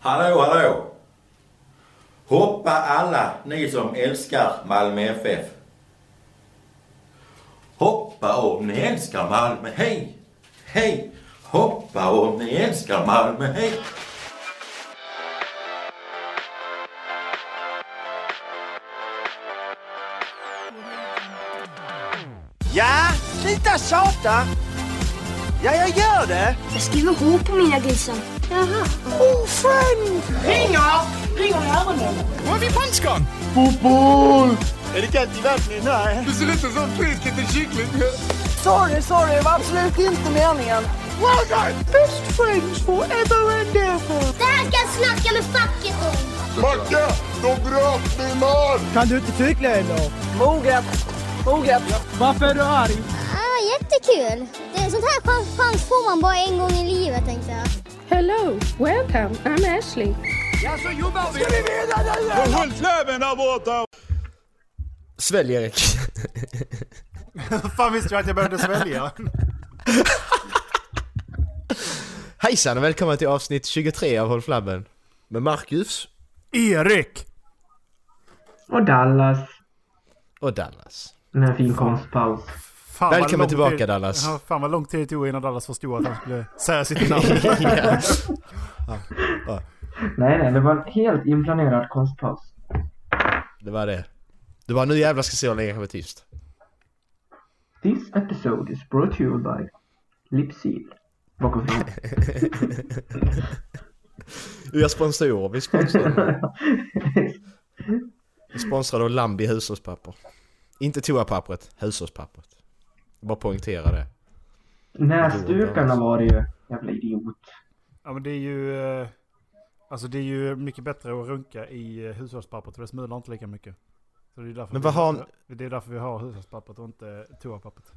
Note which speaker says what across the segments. Speaker 1: Hallå, hallå! Hoppa alla ni som älskar Malmö FF. Hoppa om ni älskar Malmö, hej! Hej! Hoppa om ni älskar Malmö, hej!
Speaker 2: Ja, sluta tjata! Ja, jag gör det!
Speaker 3: Jag skriver H på mina grisar. Jaha.
Speaker 2: Oh, friend!
Speaker 4: Ringer! Ringer i öronen.
Speaker 5: Var är vi punchgång?
Speaker 2: Är det kallt i vattnet? Nej.
Speaker 5: Du ser ut som en frisk liten kyckling.
Speaker 4: Sorry, sorry. Det var absolut inte meningen.
Speaker 2: Well done! Best friends forever and ever!
Speaker 3: Det här ska jag snacka med facket om.
Speaker 5: Macke, de bröt min man!
Speaker 6: Kan du inte cykla eller?
Speaker 4: Moget. Moget.
Speaker 6: Varför är du arg?
Speaker 3: Ah, jättekul. Det, sånt här chans, chans får man bara en gång i livet tänkte jag.
Speaker 7: Hello, welcome. I'm Ashley.
Speaker 8: Svälj Erik.
Speaker 9: Fan visste jag att jag behövde svälja?
Speaker 8: Hejsan och välkommen till avsnitt 23 av Håll Flabben. Med Marcus
Speaker 9: Erik!
Speaker 10: Och Dallas
Speaker 8: och Dallas.
Speaker 10: med en fin konstpaus.
Speaker 9: Fan, vad
Speaker 8: Välkommen
Speaker 9: lång
Speaker 8: tillbaka,
Speaker 9: tid-
Speaker 8: Dallas.
Speaker 9: Ja, fan vad lång tid det tog innan Dallas förstod att han skulle säga sitt namn.
Speaker 8: Ja.
Speaker 10: Nej, nej, det var en helt inplanerad konstpaus.
Speaker 8: Det var det. Du bara nu jävlar ska jag se hur länge jag kan vara tyst.
Speaker 10: This episode is brought to you by Lipsil. Bakom fram.
Speaker 8: Vi har sponsorer, vi sponsrar. Vi sponsrar då Lambi hushållspapper. Inte toapappret, hushållspappret. Jag bara poängtera det.
Speaker 10: Näsdukarna var det ju. Jävla idiot.
Speaker 9: ja men det är ju... eh, Alltså det är ju mycket bättre att runka i eh, hushållspappret för det smular inte lika mycket. Så det är därför
Speaker 8: Men
Speaker 9: vi-
Speaker 8: vad har-
Speaker 9: Det är därför vi har hushållspappret och inte toapappret.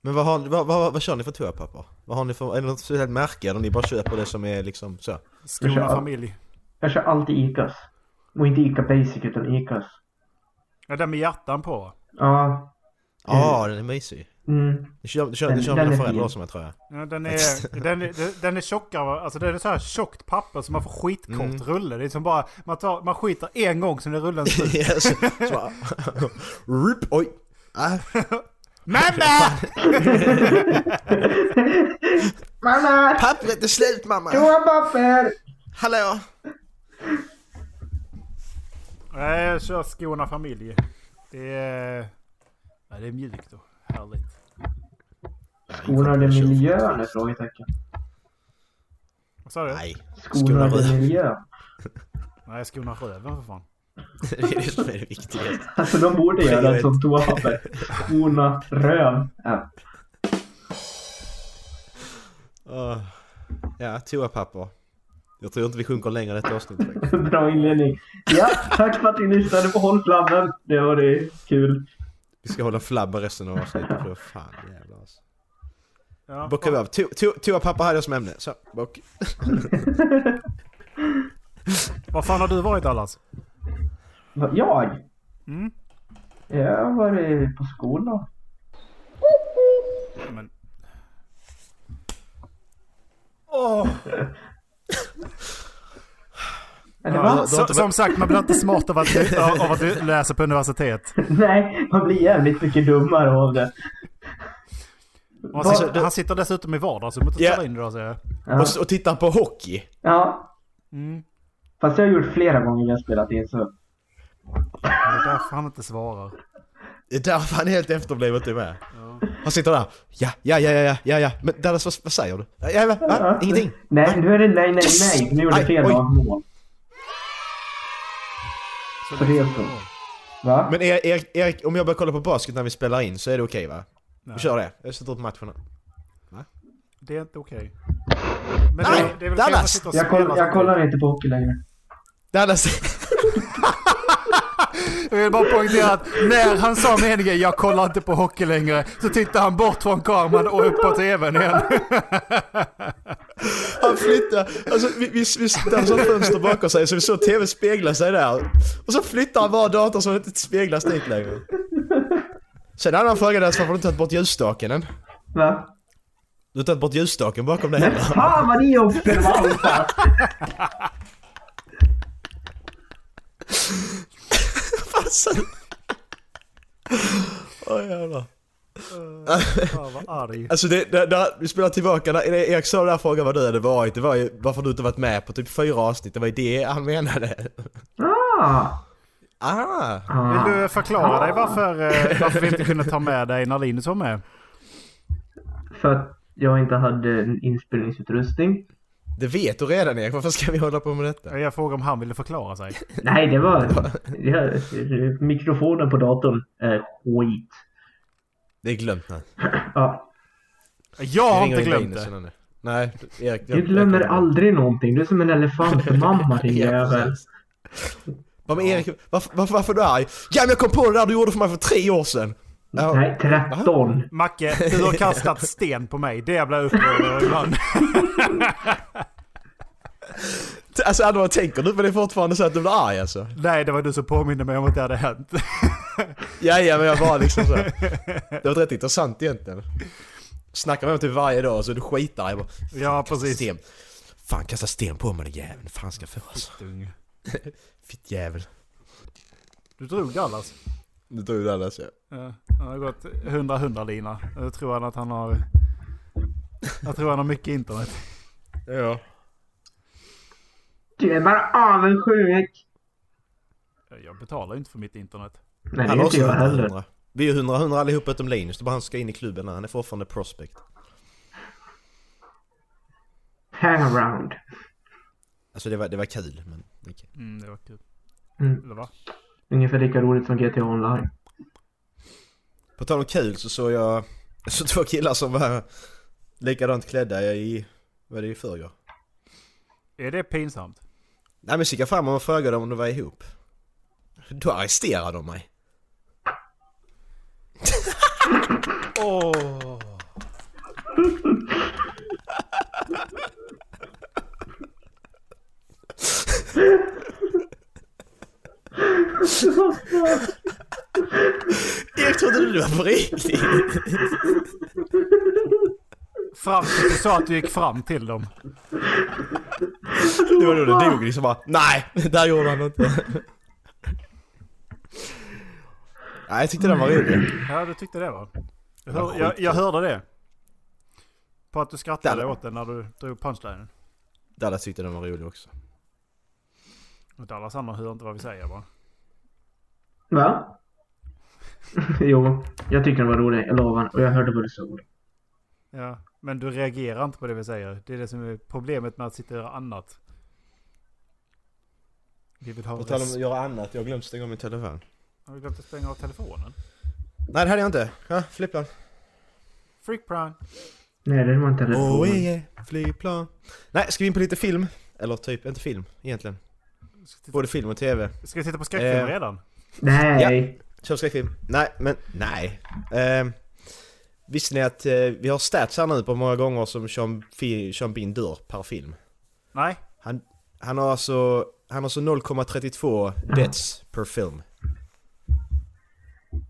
Speaker 8: Men vad, har, vad, vad, vad kör ni för toapapper? Vad har ni för, är det något speciellt märke eller ni bara köper det som är liksom så?
Speaker 9: Skona familj.
Speaker 10: Jag kör alltid Icas. Och inte Ica Basic utan Icas.
Speaker 9: Ja den med hjärtan på va?
Speaker 10: Ja.
Speaker 8: Ja, ah, den är mysig.
Speaker 10: Mm.
Speaker 8: Du kör, du kör, du
Speaker 10: Den-
Speaker 8: kör
Speaker 10: den
Speaker 8: mina
Speaker 10: är
Speaker 8: föräldrar
Speaker 10: fin.
Speaker 8: som jag tror jag.
Speaker 9: Ja, den, är, den, är, den är tjockare, va? alltså den är så här tjockt papper så man får skitkort
Speaker 8: Mm.
Speaker 9: rulle. Det är som bara, man, tar, man skiter en gång sen är rullen slut.
Speaker 8: Ja, så, så bara, Rup, oj! Ah,
Speaker 9: Mamma!
Speaker 10: Mamma!
Speaker 8: pappret är slut mamma!
Speaker 10: Toapapper!
Speaker 8: Hallå!
Speaker 9: Nej, jag kör skona familj. Det är... Ja, det är mjukt och härligt.
Speaker 10: Skonade miljön? är Frågetecken.
Speaker 9: Vad sa du? Nej,
Speaker 8: Nej, Skonar
Speaker 10: Skonade
Speaker 8: röven.
Speaker 10: miljön.
Speaker 9: Nej skona röven för fan.
Speaker 8: det är det som är det viktigaste.
Speaker 10: Alltså de borde göra det som toapapper. Skona röv. Ja.
Speaker 8: Ah, ja, toapapper. Jag tror inte vi sjunker längre i detta avsnitt faktiskt.
Speaker 10: Bra inledning. Ja, tack för att ni lyssnade på Håll Flabben. Det var det kul.
Speaker 8: Vi ska hålla flabben resten av avsnittet för vad fan jävlar alltså.
Speaker 9: Ja.
Speaker 8: Bockar vi av. To- to- Toapapper hade jag som ämne. Så, bock.
Speaker 9: Var fan har du varit Allas?
Speaker 10: Va- Jag?
Speaker 9: Mm.
Speaker 10: Jag har varit på skolan.
Speaker 9: Men... Åh!
Speaker 10: Eller va?
Speaker 8: Ja, du har
Speaker 9: Så,
Speaker 8: inte-
Speaker 9: som sagt, man blir inte smart av att, du- av av att du läser på universitet.
Speaker 10: Nej, man blir jävligt mycket dummare av det.
Speaker 9: Och Han sitter, han sitter dessutom i vardag så du måste
Speaker 8: Ja.
Speaker 9: ställa in det då säger jag.
Speaker 10: Ja.
Speaker 8: Och, s- och tittar på hockey.
Speaker 10: ja.
Speaker 9: Mm.
Speaker 10: Fast jag har gjort flera gånger när jag spelat in så.
Speaker 9: Det är därför han inte svarar.
Speaker 8: Det är därför han är helt efterbliven inte med. Han sitter där. Ja, ja, ja, ja, ja, ja. Men Dallas, vad, vad säger du? Ja, va, va? Ingenting.
Speaker 10: Nej, nu är det nej, nej, nej. Nu gjorde
Speaker 8: Aj,
Speaker 10: jag fel
Speaker 8: oj.
Speaker 10: mål.
Speaker 9: Så
Speaker 10: Tre
Speaker 9: liksom-
Speaker 10: så. Va?
Speaker 8: Men Erik, Erik, Erik, om jag börjar kolla på basket när vi spelar in så är det okej va? Vi kör det. Jag sätter upp matcherna.
Speaker 9: Det är inte okej. Men
Speaker 8: Nej,
Speaker 9: det, det är väl
Speaker 8: Dallas!
Speaker 9: fel att sitta och
Speaker 10: Jag, koll,
Speaker 9: spela
Speaker 10: jag
Speaker 9: så-
Speaker 10: kollar inte på hockey längre.
Speaker 8: Dallas...
Speaker 9: Jag vill bara poängtera att när han sa meningen jag kollar inte på hockey längre så tittade han bort från kameran och upp på tvn igen.
Speaker 8: Han flyttade, alltså vi, vi, vi Dallas har ett fönster bakom sig så vi såg TV spegla sig där. Och så flyttar han bara datorn så den inte speglas dit längre. Sen hade han frågat Dallas varför har du inte tagit bort ljusstaken än?
Speaker 10: Va?
Speaker 8: Du har tagit bort ljusstaken bakom dig heller.
Speaker 10: Fan vad ni är observanta!
Speaker 9: Fan vad arg.
Speaker 8: Alltså det, det, det, vi spelar tillbaka, när Erik sa den där frågan vad du hade varit, det var ju varför du inte varit med på typ fyra avsnitt, det var ju det han menade.
Speaker 10: Ah!
Speaker 8: Ah!
Speaker 9: Vill du förklara dig varför, eh, varför vi inte kunde ta med dig när Linus var med?
Speaker 10: För att jag inte hade en inspelningsutrustning.
Speaker 8: Det vet du redan Erik, varför ska vi hålla på med detta?
Speaker 9: Jag frågade om han ville förklara sig.
Speaker 10: Nej, det var... Ja, mikrofonen på datorn är skit.
Speaker 8: Det är glömt nu.
Speaker 10: Ja,
Speaker 9: Jag har
Speaker 8: Ringer
Speaker 9: inte
Speaker 8: in
Speaker 9: glömt
Speaker 8: Linus
Speaker 9: det.
Speaker 8: innan nu. Nej, Erik. jag-
Speaker 10: du glömmer
Speaker 8: jag-
Speaker 10: aldrig någonting. Du är som en elefantmamma din
Speaker 8: Ja,
Speaker 10: jävel.
Speaker 8: precis. Vad med Erik, varför, varför, varför är du arg? Ja men jag kom på det där du gjorde för mig för tre år sedan! Ja,
Speaker 10: Nej, 13.
Speaker 9: Macke, du har kastat sten på mig. Det jag blir upprörd över ibland.
Speaker 8: t- Alltså Anna, vad tänker du på det fortfarande så att du blir arg alltså?
Speaker 9: Nej, det var du som påminde mig om att det hade hänt.
Speaker 8: Ja, ja men jag var liksom så. här. Det var rätt intressant egentligen. Snackar med mig typ varje dag så är du skitarg. Jag bara,
Speaker 9: Ja,
Speaker 8: Precis.
Speaker 9: precis.
Speaker 8: Sten. Fan kasta sten på mig den jäveln. Fan ska jag få alltså. Fitt jävel.
Speaker 9: Du drog Dallas.
Speaker 8: Nu tog du den alltså.
Speaker 9: Ja, han har gått 100-100 lina. Jag tror han att han har... Jag tror han har mycket internet.
Speaker 8: Ja.
Speaker 10: Du är bara avundsjuk.
Speaker 9: Jag betalar ju inte för mitt internet.
Speaker 10: Nej, det är inte jag heller.
Speaker 8: Vi är 100-100 allihopa utom Linus. Det är bara han som ska in i klubben här. Han är fortfarande prospect.
Speaker 10: Hangaround.
Speaker 8: Alltså det var, det var kul men... okej.
Speaker 9: Mm, det var kul.
Speaker 10: Mm.
Speaker 9: Eller va?
Speaker 10: Ungefär lika roligt som GTA Online.
Speaker 8: På tal om kul så såg jag... Jag såg två killar som var likadant klädda i... Vad är det i förrgår?
Speaker 9: Är det pinsamt?
Speaker 8: Nej men så gick jag fram och frågade om de var ihop. Då arresterade de mig.
Speaker 9: Åh!
Speaker 8: Jag trodde du var på riktigt.
Speaker 9: Fram till du sa att du gick fram till dem.
Speaker 8: Det var då det dog liksom bara, nej, där gjorde han inte. Nej, jag tyckte den var rolig.
Speaker 9: Ja, du tyckte det va? Jag,
Speaker 8: Vad
Speaker 9: hör, jag, jag hörde det. På att du skrattade
Speaker 8: Dallas.
Speaker 9: åt den när du drog punchlinen.
Speaker 8: Dallas tyckte den var rolig också.
Speaker 9: Och Dallas andra hör inte vad vi säger bara.
Speaker 10: Va? jo, jag tyckte den var rolig. Jag lovar. Och jag hörde vad du sa.
Speaker 9: Ja, men du reagerar inte på det vi säger. Det är det som är problemet med att sitta och göra annat. Vi vill ha
Speaker 8: På tal om
Speaker 9: res-
Speaker 8: att göra annat, jag glömde stänga av min telefon.
Speaker 9: Har vi glömt att stänga av telefonen?
Speaker 8: Nej, det hade jag inte. Ja, flygplan.
Speaker 9: Freakpran!
Speaker 10: Nej, det var inte telefonen.
Speaker 8: Oh yeah, flygplan. Nej, ska vi in på lite film? Eller typ, inte film egentligen. Både film och tv.
Speaker 9: Ska vi titta på
Speaker 8: Eh.
Speaker 9: skräckfilm redan?
Speaker 10: Nej.
Speaker 8: Kör skräckfilm. Nej, men nej. Ehm, visste ni att eh, vi har stats här nu på hur många gånger som Sean, Fi- Sean Bean dör per film?
Speaker 9: Nej?
Speaker 8: Han, han har alltså, han har alltså 0,32 deaths per film.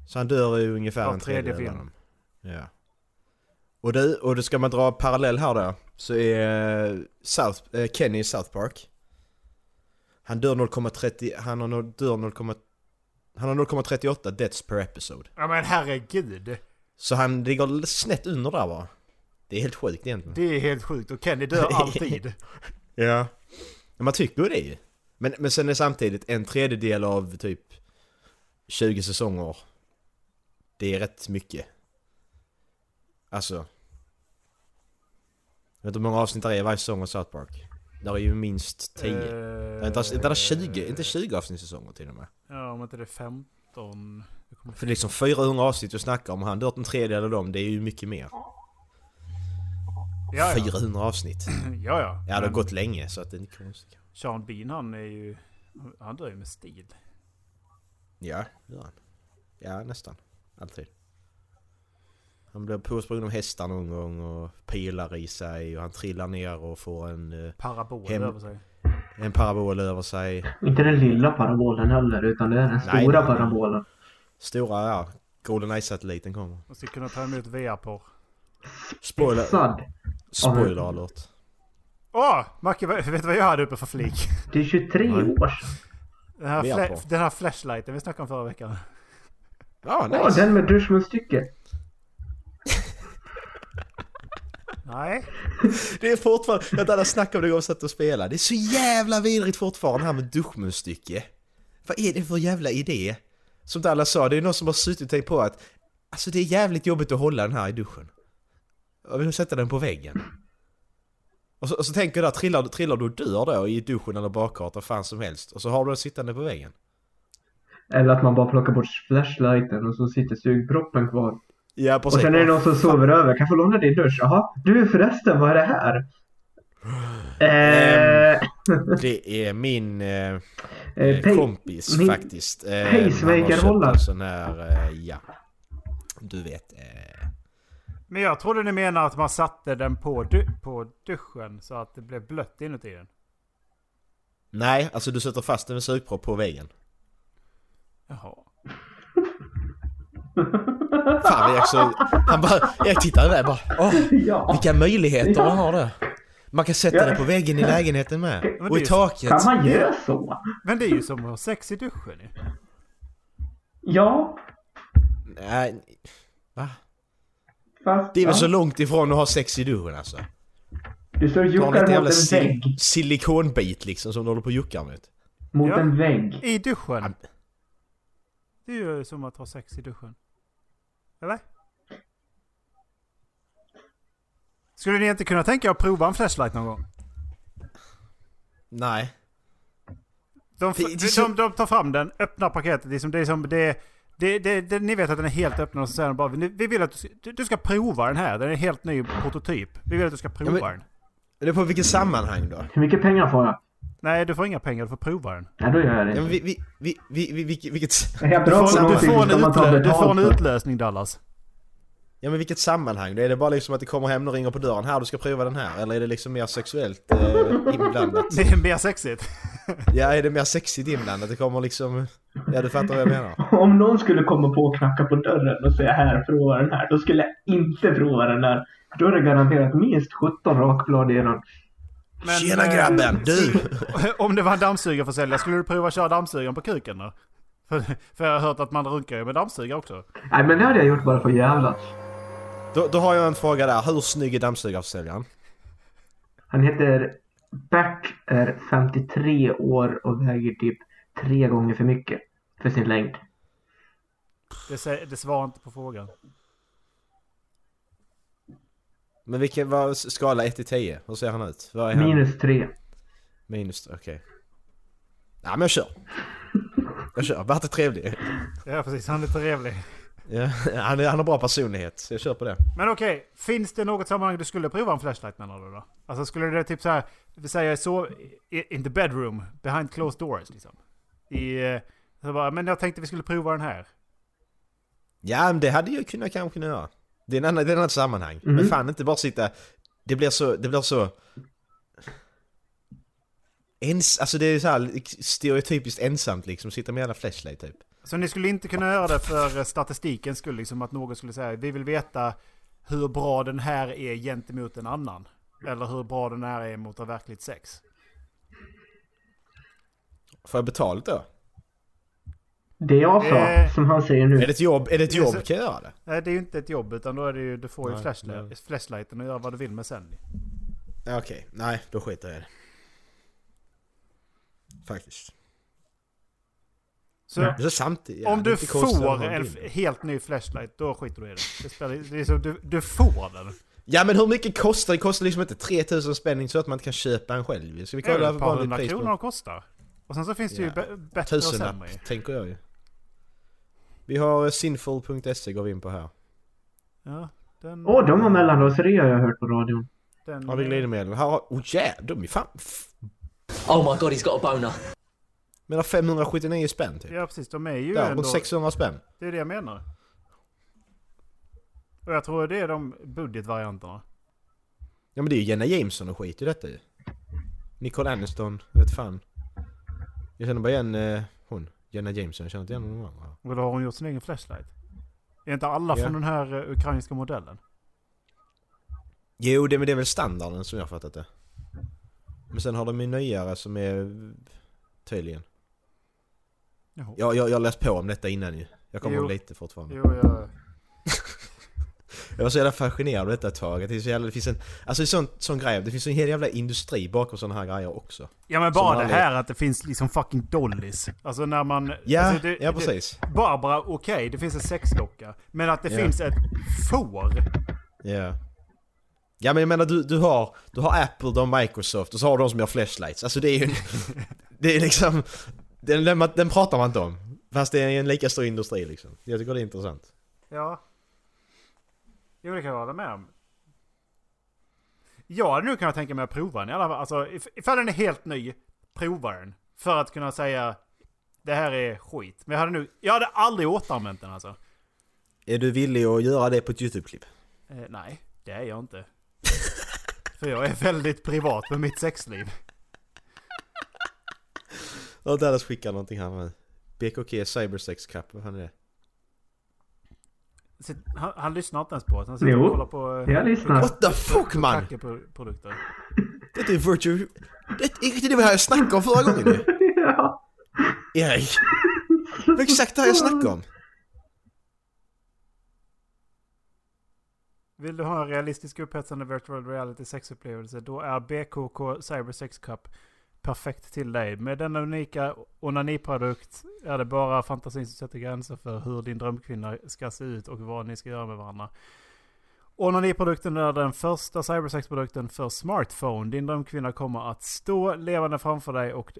Speaker 8: Så han dör ju ungefär
Speaker 9: Var
Speaker 8: en
Speaker 9: tredje
Speaker 8: tredjedel av
Speaker 9: film.
Speaker 8: dem. Ja. Och det, och det ska man dra parallell här då, så är eh, South, eh, Kenny i South Park. Han dör 0,30, han har, noll- dör 0, han har 0,38 deaths per episode.
Speaker 9: Ja men herregud!
Speaker 8: Så han ligger snett under där va? Det är helt sjukt egentligen.
Speaker 9: Det är helt sjukt och Kenny dör alltid.
Speaker 8: Ja. Men man tycker ju det ju. Men, men sen är samtidigt en tredjedel av typ 20 säsonger. Det är rätt mycket. Alltså. Jag vet inte hur många avsnitt det är i varje säsong av South Park. Där är ju minst 10.
Speaker 9: Eh,
Speaker 8: Inte, inte, inte 20, inte 20 avsnittssäsonger till och med.
Speaker 9: Ja om inte det är 15... Jag kommer-
Speaker 8: För det är liksom 400 avsnitt vi snackar om. Han dör en tredjedel av dem. Det är ju mycket mer.
Speaker 9: Ja, ja.
Speaker 8: 400 avsnitt.
Speaker 9: ja,
Speaker 8: Ja,
Speaker 9: ja.
Speaker 8: det har
Speaker 9: Men
Speaker 8: gått länge så att det är inte konstigt.
Speaker 9: Sean Bean han är ju... Han dör ju med stil.
Speaker 8: Ja, det gör han. Ja, nästan. Alltid. Han blev påsprungen av hästar någon gång och pilar i sig och han trillar ner och får en, eh,
Speaker 9: Parabol
Speaker 8: Hem-
Speaker 9: över sig.
Speaker 8: en parabol över sig.
Speaker 10: Inte den lilla parabolen heller, utan det är den
Speaker 8: Nej,
Speaker 10: stora
Speaker 8: nej.
Speaker 10: parabolen.
Speaker 8: Stora, ja. Goldeneye-satelliten kommer.
Speaker 9: Man ska kunna ta emot VR-porr.
Speaker 8: Spoiler,
Speaker 10: Sad.
Speaker 8: spoiler alert.
Speaker 9: Åh! Macke, vet du vad jag hade uppe för flik?
Speaker 10: Det är 23 år sedan.
Speaker 9: Den här,
Speaker 8: VR
Speaker 9: fla-
Speaker 8: på.
Speaker 9: den här flashlighten vi snackade om förra veckan.
Speaker 8: Ja,
Speaker 10: Ja,
Speaker 8: nice.
Speaker 10: den med duschmunstycke.
Speaker 9: Nej.
Speaker 8: Det är fortfarande, jag hade alla snack om det igår sätt att spela. Det är så jävla vidrigt fortfarande här med duschmunstycke. Vad är det för jävla idé? Som alla sa, det är någon som har suttit och tänkt på att alltså det är jävligt jobbigt att hålla den här i duschen. Jag vill sätta den på väggen. Och så, och så tänker du att trillar, trillar du och dör då i duschen eller bakgatan, vad fan som helst. Och så har du den sittande på väggen.
Speaker 10: Eller att man bara plockar bort flashlighten och så sitter sugproppen kvar.
Speaker 8: Ja
Speaker 10: Och sen är det någon som sover över. Kan jag få låna din dusch? Jaha. Du förresten, vad är det här? Eh,
Speaker 8: Det är min eh,
Speaker 10: eh,
Speaker 8: eh,
Speaker 10: pay-
Speaker 8: kompis
Speaker 10: min-
Speaker 8: faktiskt. Eh,
Speaker 10: pacemakerhållare.
Speaker 8: han har köpt en sån här, eh, ja. Du vet. Eh,
Speaker 9: Men jag trodde ni menar att man satte den på, du- på duschen så att det blev blött inuti den.
Speaker 8: nej, alltså du sätter fast den med sugpropp på väggen.
Speaker 9: Jaha.
Speaker 8: Fan, jag är så, han bara, jag tittar där bara. Åh,
Speaker 10: Ja.
Speaker 8: vilka möjligheter
Speaker 10: Ja.
Speaker 8: man har där. Man kan sätta
Speaker 10: Ja.
Speaker 8: den på väggen i lägenheten med.
Speaker 9: men
Speaker 8: Och
Speaker 9: det
Speaker 8: i
Speaker 9: är-
Speaker 8: taket.
Speaker 10: Kan man göra så?
Speaker 9: Men det är ju som att ha sex i duschen ju.
Speaker 10: Ja,
Speaker 8: Nej, va?
Speaker 10: fast...
Speaker 8: Det är
Speaker 10: ja.
Speaker 8: väl så långt ifrån att ha sex i duschen alltså.
Speaker 10: Du står och
Speaker 8: Ta en
Speaker 10: juckar
Speaker 8: jävla
Speaker 10: mot en
Speaker 8: sil-
Speaker 10: vägg.
Speaker 8: silikonbit liksom som du håller på och juckar mot.
Speaker 10: Mot
Speaker 9: Ja.
Speaker 10: en vägg.
Speaker 9: I duschen. Det är ju som att ha sex i duschen. Eller? Skulle ni inte kunna tänka er att prova en flashlight någon gång?
Speaker 8: Nej.
Speaker 9: De, f-
Speaker 8: Det- det är så-
Speaker 9: de, de tar fram den, öppnar paketet. liksom, Det är som, det är som det, det, det, det, ni vet att den är helt öppen och så säger de bara "Nu- vi vill att du, ska- du, du ska prova den här. Den är en helt ny prototyp. Vi vill att du ska prova
Speaker 8: men-
Speaker 9: den.
Speaker 8: Det är på vilket sammanhang då?
Speaker 10: Hur mycket pengar får jag?
Speaker 9: Nej, du får inga pengar. Du får prova den.
Speaker 10: Nej, då gör jag
Speaker 8: Ja,
Speaker 10: det inte.
Speaker 8: men vi, vi, vi, vi, vi, vilket, vilket...
Speaker 10: Är jag
Speaker 9: Du
Speaker 10: bra
Speaker 9: får,
Speaker 10: på
Speaker 9: du
Speaker 10: någonting
Speaker 9: får, en,
Speaker 10: ska man ta
Speaker 9: utlö, du får en
Speaker 10: betalt för?
Speaker 9: utlösning Dallas.
Speaker 8: Ja men vilket sammanhang? Då Är det bara liksom att det kommer hem och ringer på dörren här du ska prova den här? Eller är det liksom mer sexuellt eh, inblandat?
Speaker 9: Det är mer sexigt.
Speaker 8: Ja är det mer sexigt inblandat? Det kommer liksom... Ja du fattar vad jag menar.
Speaker 10: Om någon skulle komma på och knacka på dörren och säga här, prova den här. Då skulle jag inte prova den där. Då är det garanterat minst 17 rakblad i den.
Speaker 9: Men,
Speaker 8: Tjena
Speaker 9: eh,
Speaker 8: grabben! Du!
Speaker 9: Om det var en dammsugarförsäljare, skulle du prova att köra dammsugaren på kuken då? För, för jag har hört att man runkar ju med dammsugare också.
Speaker 10: Nej, men det hade jag gjort bara för jävla.
Speaker 8: Då, då har jag en fråga där. Hur snygg är dammsugarförsäljaren?
Speaker 10: Han heter Bert, är 53 år och väger typ tre gånger för mycket för sin längd.
Speaker 9: Det, sä- det svarar inte på frågan.
Speaker 8: Men vilken var skala 1 till 10? Hur ser han ut? Vad är han?
Speaker 10: Minus tre.
Speaker 8: Minus, okej. Ja men jag kör. Jag kör. Vart är trevlig.
Speaker 9: Ja precis, han är lite trevlig.
Speaker 8: Ja, han, är, han har bra personlighet så jag kör på det.
Speaker 9: Men okej, finns det något sammanhang du skulle prova en flashlight menar du då? Alltså skulle det typ så här, vi säger så, i- in the bedroom, behind closed doors liksom? I, eh, så bara, men jag tänkte vi skulle prova den här.
Speaker 8: Ja, men det hade jag kunnat kanske kunnat göra. Det är en annan, det är en annan sammanhang. Men fan inte bara sitta... Det blir så... Det blir så... Ens, alltså det är så här stereotypiskt ensamt liksom, sitta med alla flashlight typ.
Speaker 9: Så ni skulle inte kunna göra det för eh, statistikens skull, liksom att någon skulle säga vi vill veta hur bra den här är gentemot en annan. Eller hur bra den här är mot verkligt sex.
Speaker 8: Får jag betalt då?
Speaker 10: Det jag sa,
Speaker 9: Eh.
Speaker 10: som han säger nu.
Speaker 8: Är det ett jobb, är det ett
Speaker 9: så-
Speaker 8: jobb kan jag göra det?
Speaker 9: Nej, det är ju inte ett jobb utan då är det ju, du får ju
Speaker 8: Nej,
Speaker 9: flashlight, flashlighten och göra vad du vill med sen.
Speaker 8: Ja, Okej, nej då skiter jag i det. Faktiskt.
Speaker 9: Så
Speaker 8: Så samtidigt, ja,
Speaker 9: om
Speaker 8: det är
Speaker 9: du
Speaker 8: inte konstigt att
Speaker 9: får
Speaker 8: ha
Speaker 9: en
Speaker 8: bild.
Speaker 9: f- helt ny flashlight, då skiter du i det. det, spelar, det är som, du, du får den.
Speaker 8: Ja men hur mycket kostar det? Kostar liksom inte 3000 spänn så att man inte kan köpa en själv Ska vi
Speaker 9: Det är
Speaker 8: kolla
Speaker 9: väl
Speaker 8: vad
Speaker 9: ett par
Speaker 8: vanligt
Speaker 9: hundra
Speaker 8: pris på
Speaker 9: kronor de kostar. Och sen så finns det ju
Speaker 8: Ja.
Speaker 9: bä- bättre och sämre. ju.
Speaker 8: Tusenlapp, tänker jag ju. Vi har eh, sinful.se E går vi in på
Speaker 9: Mm.
Speaker 8: här.
Speaker 9: Ja, den,
Speaker 10: Åh, de var mellanraserier har jag hört på radion.
Speaker 9: den,
Speaker 8: Har vi glidmedel? Här har... Oh jävlar, de är fan... f-
Speaker 2: Oh my god, he's got a boner.
Speaker 8: Men har 579 spänn typ.
Speaker 9: Ja precis, de är ju
Speaker 8: Där,
Speaker 9: ändå...
Speaker 8: runt 600 spänn.
Speaker 9: Det är det jag menar. Och jag tror det är de budgetvarianterna.
Speaker 8: Ja men det är ju Jenna Jameson och skit i detta ju. Nicole Aniston, jag vet fan. Jag känner bara igen eh, hon. Jenna Jameson, jag känner inte igen någon annan.
Speaker 9: Eller har hon gjort sin egen flashlight? Är inte alla
Speaker 8: Ja.
Speaker 9: från den här eh, ukrainska modellen?
Speaker 8: Jo, det, men det är väl standarden som jag har fattat det. Men sen har de ju nyare som är... Tydligen.
Speaker 9: Jaha.
Speaker 8: Jag, jag, jag har läst på om detta innan ju. Jag kommer
Speaker 9: Jo.
Speaker 8: ihåg lite fortfarande.
Speaker 9: Jo, jag...
Speaker 8: Jag var så jävla fascinerad av detta ett tag. att Det, är så jävla, det finns en, alltså det är sån, sån grej, det finns en hel jävla industri bakom sådana här grejer också.
Speaker 9: Ja men bara
Speaker 8: Som
Speaker 9: det här att det finns liksom fucking dollys. Alltså när man...
Speaker 8: Ja,
Speaker 9: alltså det,
Speaker 8: ja, precis.
Speaker 9: Det, Barbara, okej, det finns en sexdocka. Men att det
Speaker 8: Ja.
Speaker 9: finns ett får.
Speaker 8: Ja. Ja men jag menar du, du har, du har Apple, du har Microsoft och så har du de som gör flashlights. Alltså det är ju... det är liksom... Den, den, den pratar man inte om. Fast det är en lika stor industri liksom. Jag tycker det är intressant.
Speaker 9: Ja. Jo, det kan jag hålla med om. Ja, nu kan jag tänka mig att prova den i alla fall. Alltså, if- ifall den är helt ny, prova den. För att kunna säga det här är skit. Men jag hade, nu, jag hade aldrig återanvänt den alltså.
Speaker 8: Är du villig att göra det på ett YouTube-klipp?
Speaker 9: Eh, nej, det är jag inte. För jag är väldigt privat med mitt sexliv.
Speaker 8: Ja, Dallas skickar någonting här med. BKK Cybersex Cup, vad fan är det?
Speaker 9: Sitt- Han, han lyssnar inte ens på oss. Han sitter
Speaker 10: Jo,
Speaker 9: och kollar på... eh,
Speaker 10: Jag lyssnar.
Speaker 8: What the fuck man!
Speaker 9: Kackerprodukter.
Speaker 8: Det är virtual... Det är riktigt det vi här jag snackade om förra gången ju!
Speaker 10: ja.
Speaker 8: Erik! Det var exakt det här jag snackade om!
Speaker 9: Vill du ha en realistisk upphetsande virtual reality sexupplevelse då är BKK Cyber Sex Cup perfekt till dig. Med denna unika onaniprodukt är det bara fantasin som sätter gränser för hur din drömkvinna ska se ut och vad ni ska göra med varandra. Onaniprodukten är den första cybersex-produkten för smartphone. Din drömkvinna kommer att stå levande framför dig och,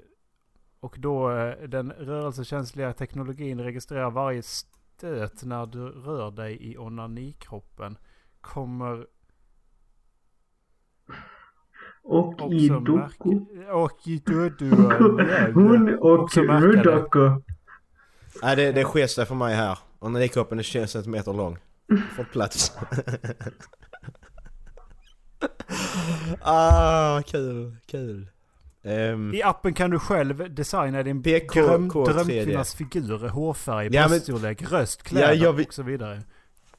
Speaker 9: och då eh, den rörelsekänsliga teknologin registrerar varje stöt när du rör dig i onanikroppen kommer
Speaker 10: Och i
Speaker 9: också
Speaker 10: Doku.
Speaker 9: märka... Och i Dodo.
Speaker 10: Hon och
Speaker 9: Också märka det.
Speaker 10: Rudoku.
Speaker 8: Nej det, det sker sig för mig här. Och när det gick upp en 20 centimeter lång. Får plats. ah, kul, kul. Ehm,
Speaker 9: I appen kan du själv designa din
Speaker 8: BK
Speaker 9: dröm,
Speaker 8: K3D.
Speaker 9: drömkvinnas figur, hårfärg,
Speaker 8: Ja, men-
Speaker 9: bröststorlek, röst, kläder
Speaker 8: Ja, jag vill-
Speaker 9: och så vidare.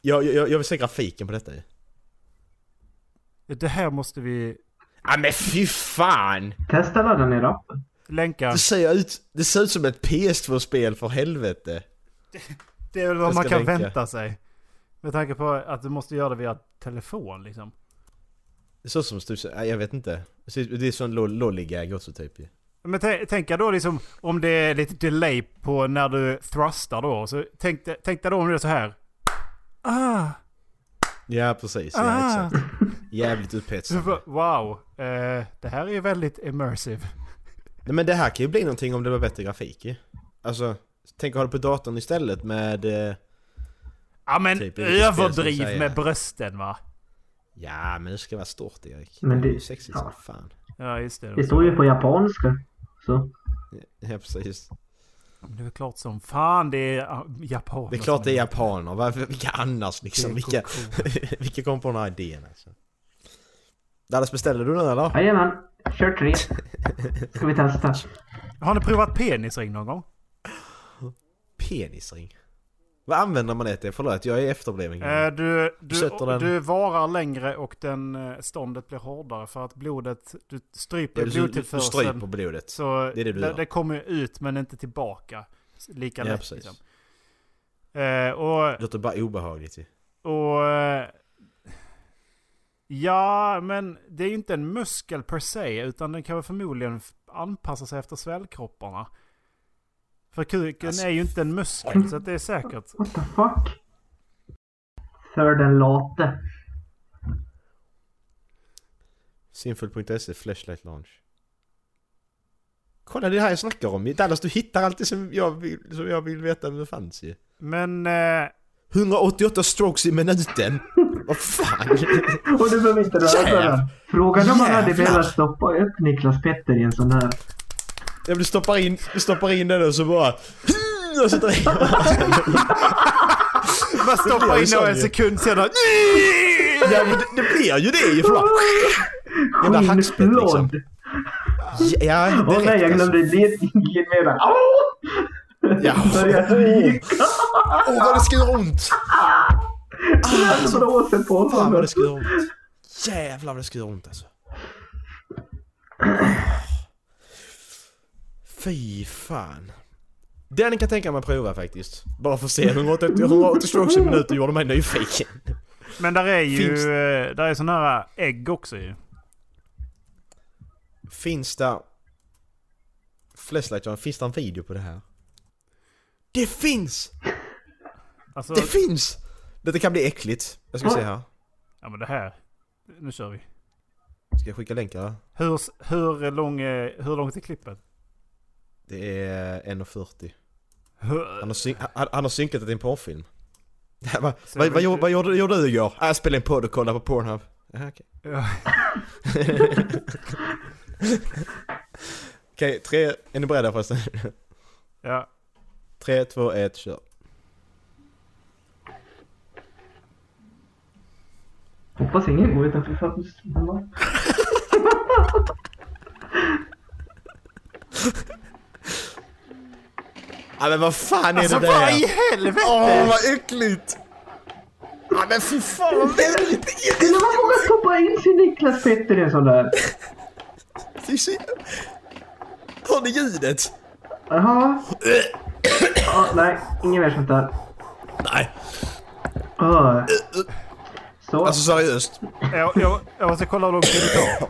Speaker 8: jag, jag, jag vill se grafiken på detta ju.
Speaker 9: Det här måste vi
Speaker 8: Ah, men fy fan!
Speaker 10: Testa ladda ner appen.
Speaker 9: länka.
Speaker 8: Det ser, ut, det ser ut som ett PS2-spel för helvete.
Speaker 9: Det är väl
Speaker 8: jag
Speaker 9: vad man
Speaker 8: ska
Speaker 9: kan
Speaker 8: länka.
Speaker 9: vänta sig. Med tanke på att du måste göra det via telefon liksom.
Speaker 8: Det ser ut som stusen, nej jag vet inte. Det ser ut- det är sån lo- lollygag också typ ju.
Speaker 9: Men tä- tänk dig då liksom om det är lite delay på när du thrustar då. Så tänk, dig- tänk dig då om det är så här. Ah!
Speaker 8: Ja precis, ja
Speaker 9: Ah.
Speaker 8: exakt. Jävligt
Speaker 9: Så
Speaker 8: upphetsande.
Speaker 9: bara, Wow, eh, det här är ju väldigt immersive.
Speaker 8: Nej men det här kan ju bli någonting om det var bättre grafik ju. Alltså, tänk att ha det på datorn istället med... eh,
Speaker 9: Ja men
Speaker 8: Typ, vilket spel ska
Speaker 9: överdriv
Speaker 8: jag säga?
Speaker 9: med brösten va?
Speaker 8: Ja men det ska vara stort Erik.
Speaker 10: Men
Speaker 8: det är
Speaker 10: det-
Speaker 8: ju sexigt som
Speaker 10: ja.
Speaker 8: fan.
Speaker 9: Ja just det.
Speaker 10: Det står ju på japanska. Så.
Speaker 8: Ja precis.
Speaker 9: Men Det är klart som fan det är ah, japaner.
Speaker 8: Det är klart det är
Speaker 9: som-
Speaker 8: japaner, varför, vilka annars liksom?
Speaker 9: Det är
Speaker 8: Vilka, vilka kom på den här idén alltså? Dallas beställde du den eller?
Speaker 10: Jajamän. Kör tre. Ska vi testa.
Speaker 9: Har ni provat penisring någon gång?
Speaker 8: Penisring? Vad använder man det till? Förlåt jag är efterbliven.
Speaker 9: Eh, du, du,
Speaker 8: Mm. Sätter den-
Speaker 9: du varar längre och den eh, ståndet blir hårdare för att blodet, du stryper
Speaker 8: Ja, du, du, du
Speaker 9: blodtillförseln.
Speaker 8: stryper blodet.
Speaker 9: så
Speaker 8: det är det du gör.
Speaker 9: det kommer ut men inte tillbaka lika
Speaker 8: Ja,
Speaker 9: lätt.
Speaker 8: precis.
Speaker 9: Liksom. Eh, och
Speaker 8: Det låter bara obehagligt ju.
Speaker 9: Och... eh, Ja, men det är ju inte en muskel per se, utan den kan väl förmodligen f- anpassa sig efter svällkropparna. För kuken
Speaker 8: Alltså,
Speaker 9: är ju inte en muskel, så att det är säkert.
Speaker 10: What the fuck? För den late.
Speaker 8: Sinful.se E, Flashlight Launch. Kolla det här jag snackar om Dallas du hittar alltid som jag vill, som jag vill veta om det fanns ju.
Speaker 9: Men... Eh,
Speaker 8: 188 strokes i minuten! Vad fan!
Speaker 10: Och du behöver inte röra på
Speaker 8: Jävlar.
Speaker 10: den. Frågan om man hade
Speaker 8: Jävlar.
Speaker 10: velat stoppa upp Niklas Petter i en sån här.
Speaker 8: Jag blir stoppar in, stoppar in den och så bara... Och så drar jag.
Speaker 9: man
Speaker 8: blir
Speaker 9: stoppar
Speaker 8: ju
Speaker 9: in
Speaker 8: sån
Speaker 9: och en
Speaker 8: ju.
Speaker 9: sekund senare...
Speaker 8: Ja men det, det blir ju det ju för fan. Jävla hackspett liksom.
Speaker 10: Skinnflådd.
Speaker 8: Ja,
Speaker 10: Åh nej, jag glömde det ingenera. Åh!
Speaker 8: Ja.
Speaker 10: Börjar ryka.
Speaker 8: Åh vad det ska göra ont!
Speaker 10: Det blåser på
Speaker 8: Fan vad
Speaker 10: honom.
Speaker 8: det ska göra ont. Jävlar vad det ska göra ont alltså. Fy fan. Den kan jag tänka mig att prova faktiskt. Bara för att se. 180 180 strokes i minuten gjorde mig nyfiken.
Speaker 9: Men där är ju
Speaker 8: Finns-
Speaker 9: eh, där är sådana här ägg också ju.
Speaker 8: Finns det... Flashlight, finns det en video på det här? Det finns!
Speaker 9: Alltså,
Speaker 8: Det finns! Detta kan bli äckligt. Jag ska se här.
Speaker 9: ja men det här. Nu kör vi.
Speaker 8: Ska jag skicka länkar? här?
Speaker 9: Hur, hur, lång, eh, hur långt är klippet?
Speaker 8: Det är 1.40. Han har, syn- han, han har synkat det till en porrfilm. Det här var-
Speaker 9: Ser
Speaker 8: Vad
Speaker 9: det
Speaker 8: vad
Speaker 9: ut-
Speaker 8: gjorde- vad gjorde gjorde du igår? Ah, jag spelade in podd och kollade på Pornhub. Jaha, okej.
Speaker 9: Ja.
Speaker 8: Okej, tre... Är ni beredda förresten?
Speaker 9: Ja.
Speaker 8: Tre, två, ett, kör.
Speaker 10: Hoppas ingen går utanför fönstret.
Speaker 8: Ah, men vad fan är det där?
Speaker 9: vad i helvete!
Speaker 8: Åh, vad äckligt! Ah, men fy fan vad äckligt!
Speaker 10: Det är man vågar stoppa in sin Niklas Petter i en sån där.
Speaker 8: Det är så... Hör ni ljudet?
Speaker 10: Jaha. Ja, nej, inget mer sånt där.
Speaker 8: Nej.
Speaker 10: Ah. Så.
Speaker 8: Alltså seriöst.
Speaker 9: Jag, jag, jag måste kolla hur lång tid det tar.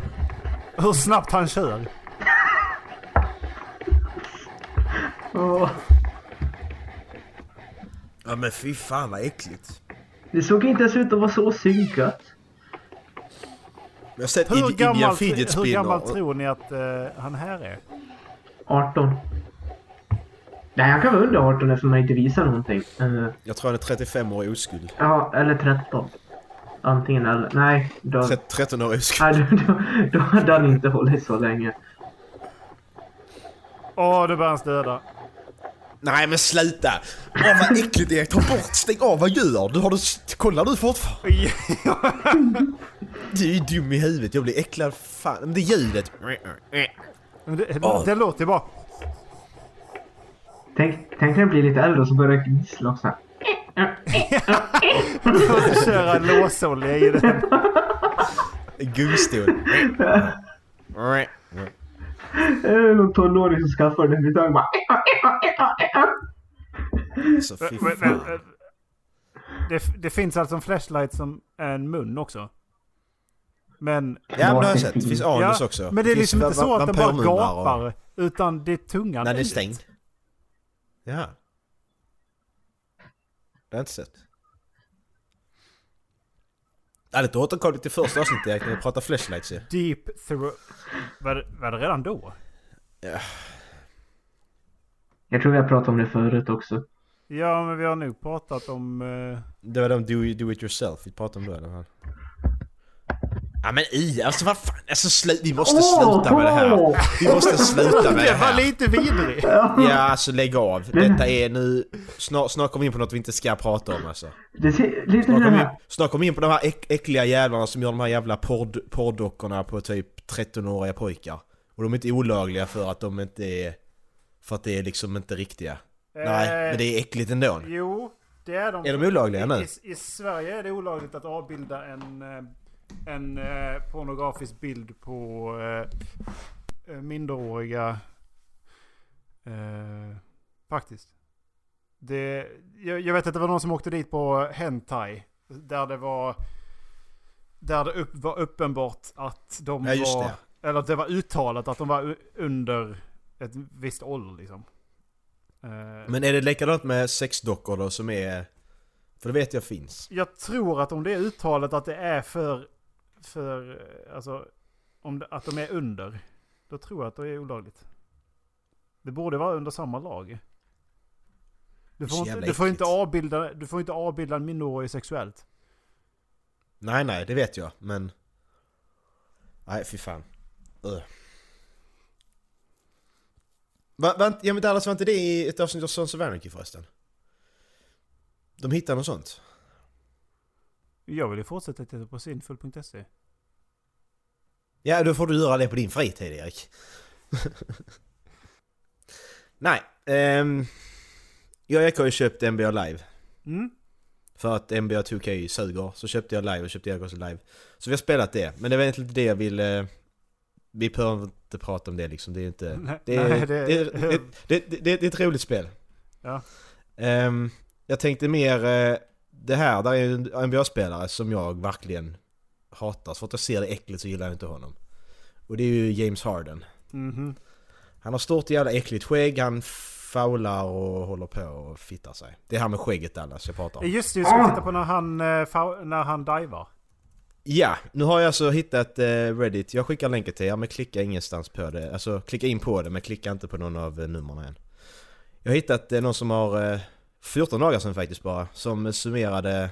Speaker 9: Hur snabbt han kör.
Speaker 10: ah.
Speaker 8: Ja men fy fan vad äckligt.
Speaker 10: Det såg inte ens ut att vara så synkat.
Speaker 8: Jag har sett
Speaker 9: Hur
Speaker 8: Id- Indian
Speaker 9: gammal,
Speaker 8: fidget
Speaker 9: hur gammal
Speaker 8: spinner.
Speaker 9: tror ni att eh, han här är?
Speaker 10: 18. Nej, han kan vara under 18 eftersom han inte visar någonting. Eh,
Speaker 8: Jag tror han är 35 år i oskuld.
Speaker 10: Ja, eller 13. Antingen eller. Nej, då,
Speaker 8: Tre- 13 år i oskuld.
Speaker 10: nej då, då, då hade han inte hållit så länge.
Speaker 9: Åh, nu börjar han stöda.
Speaker 8: Nej men sluta! Åh vad äckligt det är. Ta bort, stäng av, vad gör du? Har du... s- Kollar du fortfarande? Du är ju dum i huvudet, jag blir äcklad fan. Men det är ljudet.
Speaker 9: Men Det,
Speaker 8: Åh.
Speaker 9: det låter ju bara...
Speaker 10: Tänk, tänk när han blir lite äldre och så börjar han gnissla och så här.
Speaker 9: Jag måste köra låsolja i den.
Speaker 8: Gungstol.
Speaker 10: Eh, Någon tonåring som skaffar den idag bara.
Speaker 8: Alltså fy
Speaker 9: Men, men,
Speaker 8: fan.
Speaker 9: eh, det, det finns alltså en flashlight som är en mun också. Men...
Speaker 8: Ja men det har jag sett. Det finns anus också.
Speaker 9: men det är
Speaker 8: finns
Speaker 9: liksom inte
Speaker 8: va-
Speaker 9: så att den bara
Speaker 8: vampyrmunnar och-
Speaker 9: gapar. Utan det är tungan
Speaker 8: Nej, den är
Speaker 9: ut.
Speaker 8: stängd. Ja. Det har jag inte sett. Ja, det är återkommit till första avsnittet Erik, när vi pratar flashlights ju.
Speaker 9: Deep throat. Var, det- var det redan då?
Speaker 10: Jag tror vi har pratat om det förut också.
Speaker 9: Ja, men vi har nu pratat om... eh,
Speaker 8: Det var de do, do it yourself vi pratade om då eller vad? Ja men i, alltså vad fan, alltså slu, vi måste sluta med det här. Vi måste sluta med det
Speaker 9: Det var
Speaker 8: här.
Speaker 9: lite vidrig!
Speaker 8: Ja alltså lägg av. Detta är nu, snart, snart kommer vi in på något vi inte ska prata om alltså.
Speaker 10: Det ser lite
Speaker 8: Snart
Speaker 10: den
Speaker 8: kommer vi in,
Speaker 10: här.
Speaker 8: snart kom vi in på de här äck, äckliga jävlarna som gör de här jävla porrd- porrdockorna på typ 13-åriga pojkar. Och de är inte olagliga för att de inte är... För att det är liksom inte riktiga. Nej, men det är äckligt ändå.
Speaker 9: Jo, det är de.
Speaker 8: Är de olagliga nu?
Speaker 9: I, i, I Sverige är det olagligt att avbilda en, eh, en eh, pornografisk bild på eh, eh, minderåriga. Eh, faktiskt. Det, jag, jag vet att det var någon som åkte dit på Hentai. Där det var... Där det upp, var uppenbart att de
Speaker 8: Ja, just
Speaker 9: var... Eller att det var uttalat att de var u- under ett visst ålder liksom. Eh,
Speaker 8: Men är det likadant med sexdockor då som är... För det vet jag finns.
Speaker 9: jag tror att om det är uttalat att det är för, för eh, alltså, om det, att de är under, då tror jag att det är olagligt. Det borde vara under samma lag. Du
Speaker 8: Så
Speaker 9: får, inte,
Speaker 8: jävla
Speaker 9: du får inte
Speaker 8: äckligt.
Speaker 9: avbilda, du får inte avbilda en minderårig sexuellt.
Speaker 8: Nej, nej, det vet jag, men... Nej, fy fan. Ugh. Va, va, ja men Dallas, var inte det i ett avsnitt av Sons of Anarchy förresten? De hittade något sånt.
Speaker 9: Jag vill ju fortsätta titta på sinfull.se.
Speaker 8: Ja, då får du göra det på din fritid, Erik. Nej, ehm... Jag och Erik har ju köpt NBA Live.
Speaker 9: Mm.
Speaker 8: För att NBA 2K suger. Så köpte jag live och köpte Erik också live. Så vi har spelat det. Men det var egentligen inte det jag ville... eh, Vi behöver inte prata om det liksom. Det är inte...
Speaker 9: Nej,
Speaker 8: det, är,
Speaker 9: nej, det-
Speaker 8: det, det, det, det, det, det är ett roligt spel.
Speaker 9: Ja.
Speaker 8: Ehm, jag tänkte mer... eh, det här, där är ju en NBA-spelare som jag verkligen hatar. Så fort jag ser det äckligt så gillar jag inte honom. Och det är ju James Harden.
Speaker 9: Mhm.
Speaker 8: Han har stort jävla äckligt skägg, han faular och håller på och fittar sig. Det är han med skägget Dallas jag pratar om.
Speaker 9: Eh, Just det, jag ska titta på när han, eh, fau- när han divar.
Speaker 8: Ja, nu har jag alltså hittat eh, Reddit. Jag skickar länken till er men klicka ingenstans på det. Alltså klicka in på det men klicka inte på någon av eh, numren än. Jag har hittat eh, någon som har eh, 14 dagar sedan faktiskt bara. Som eh, summerade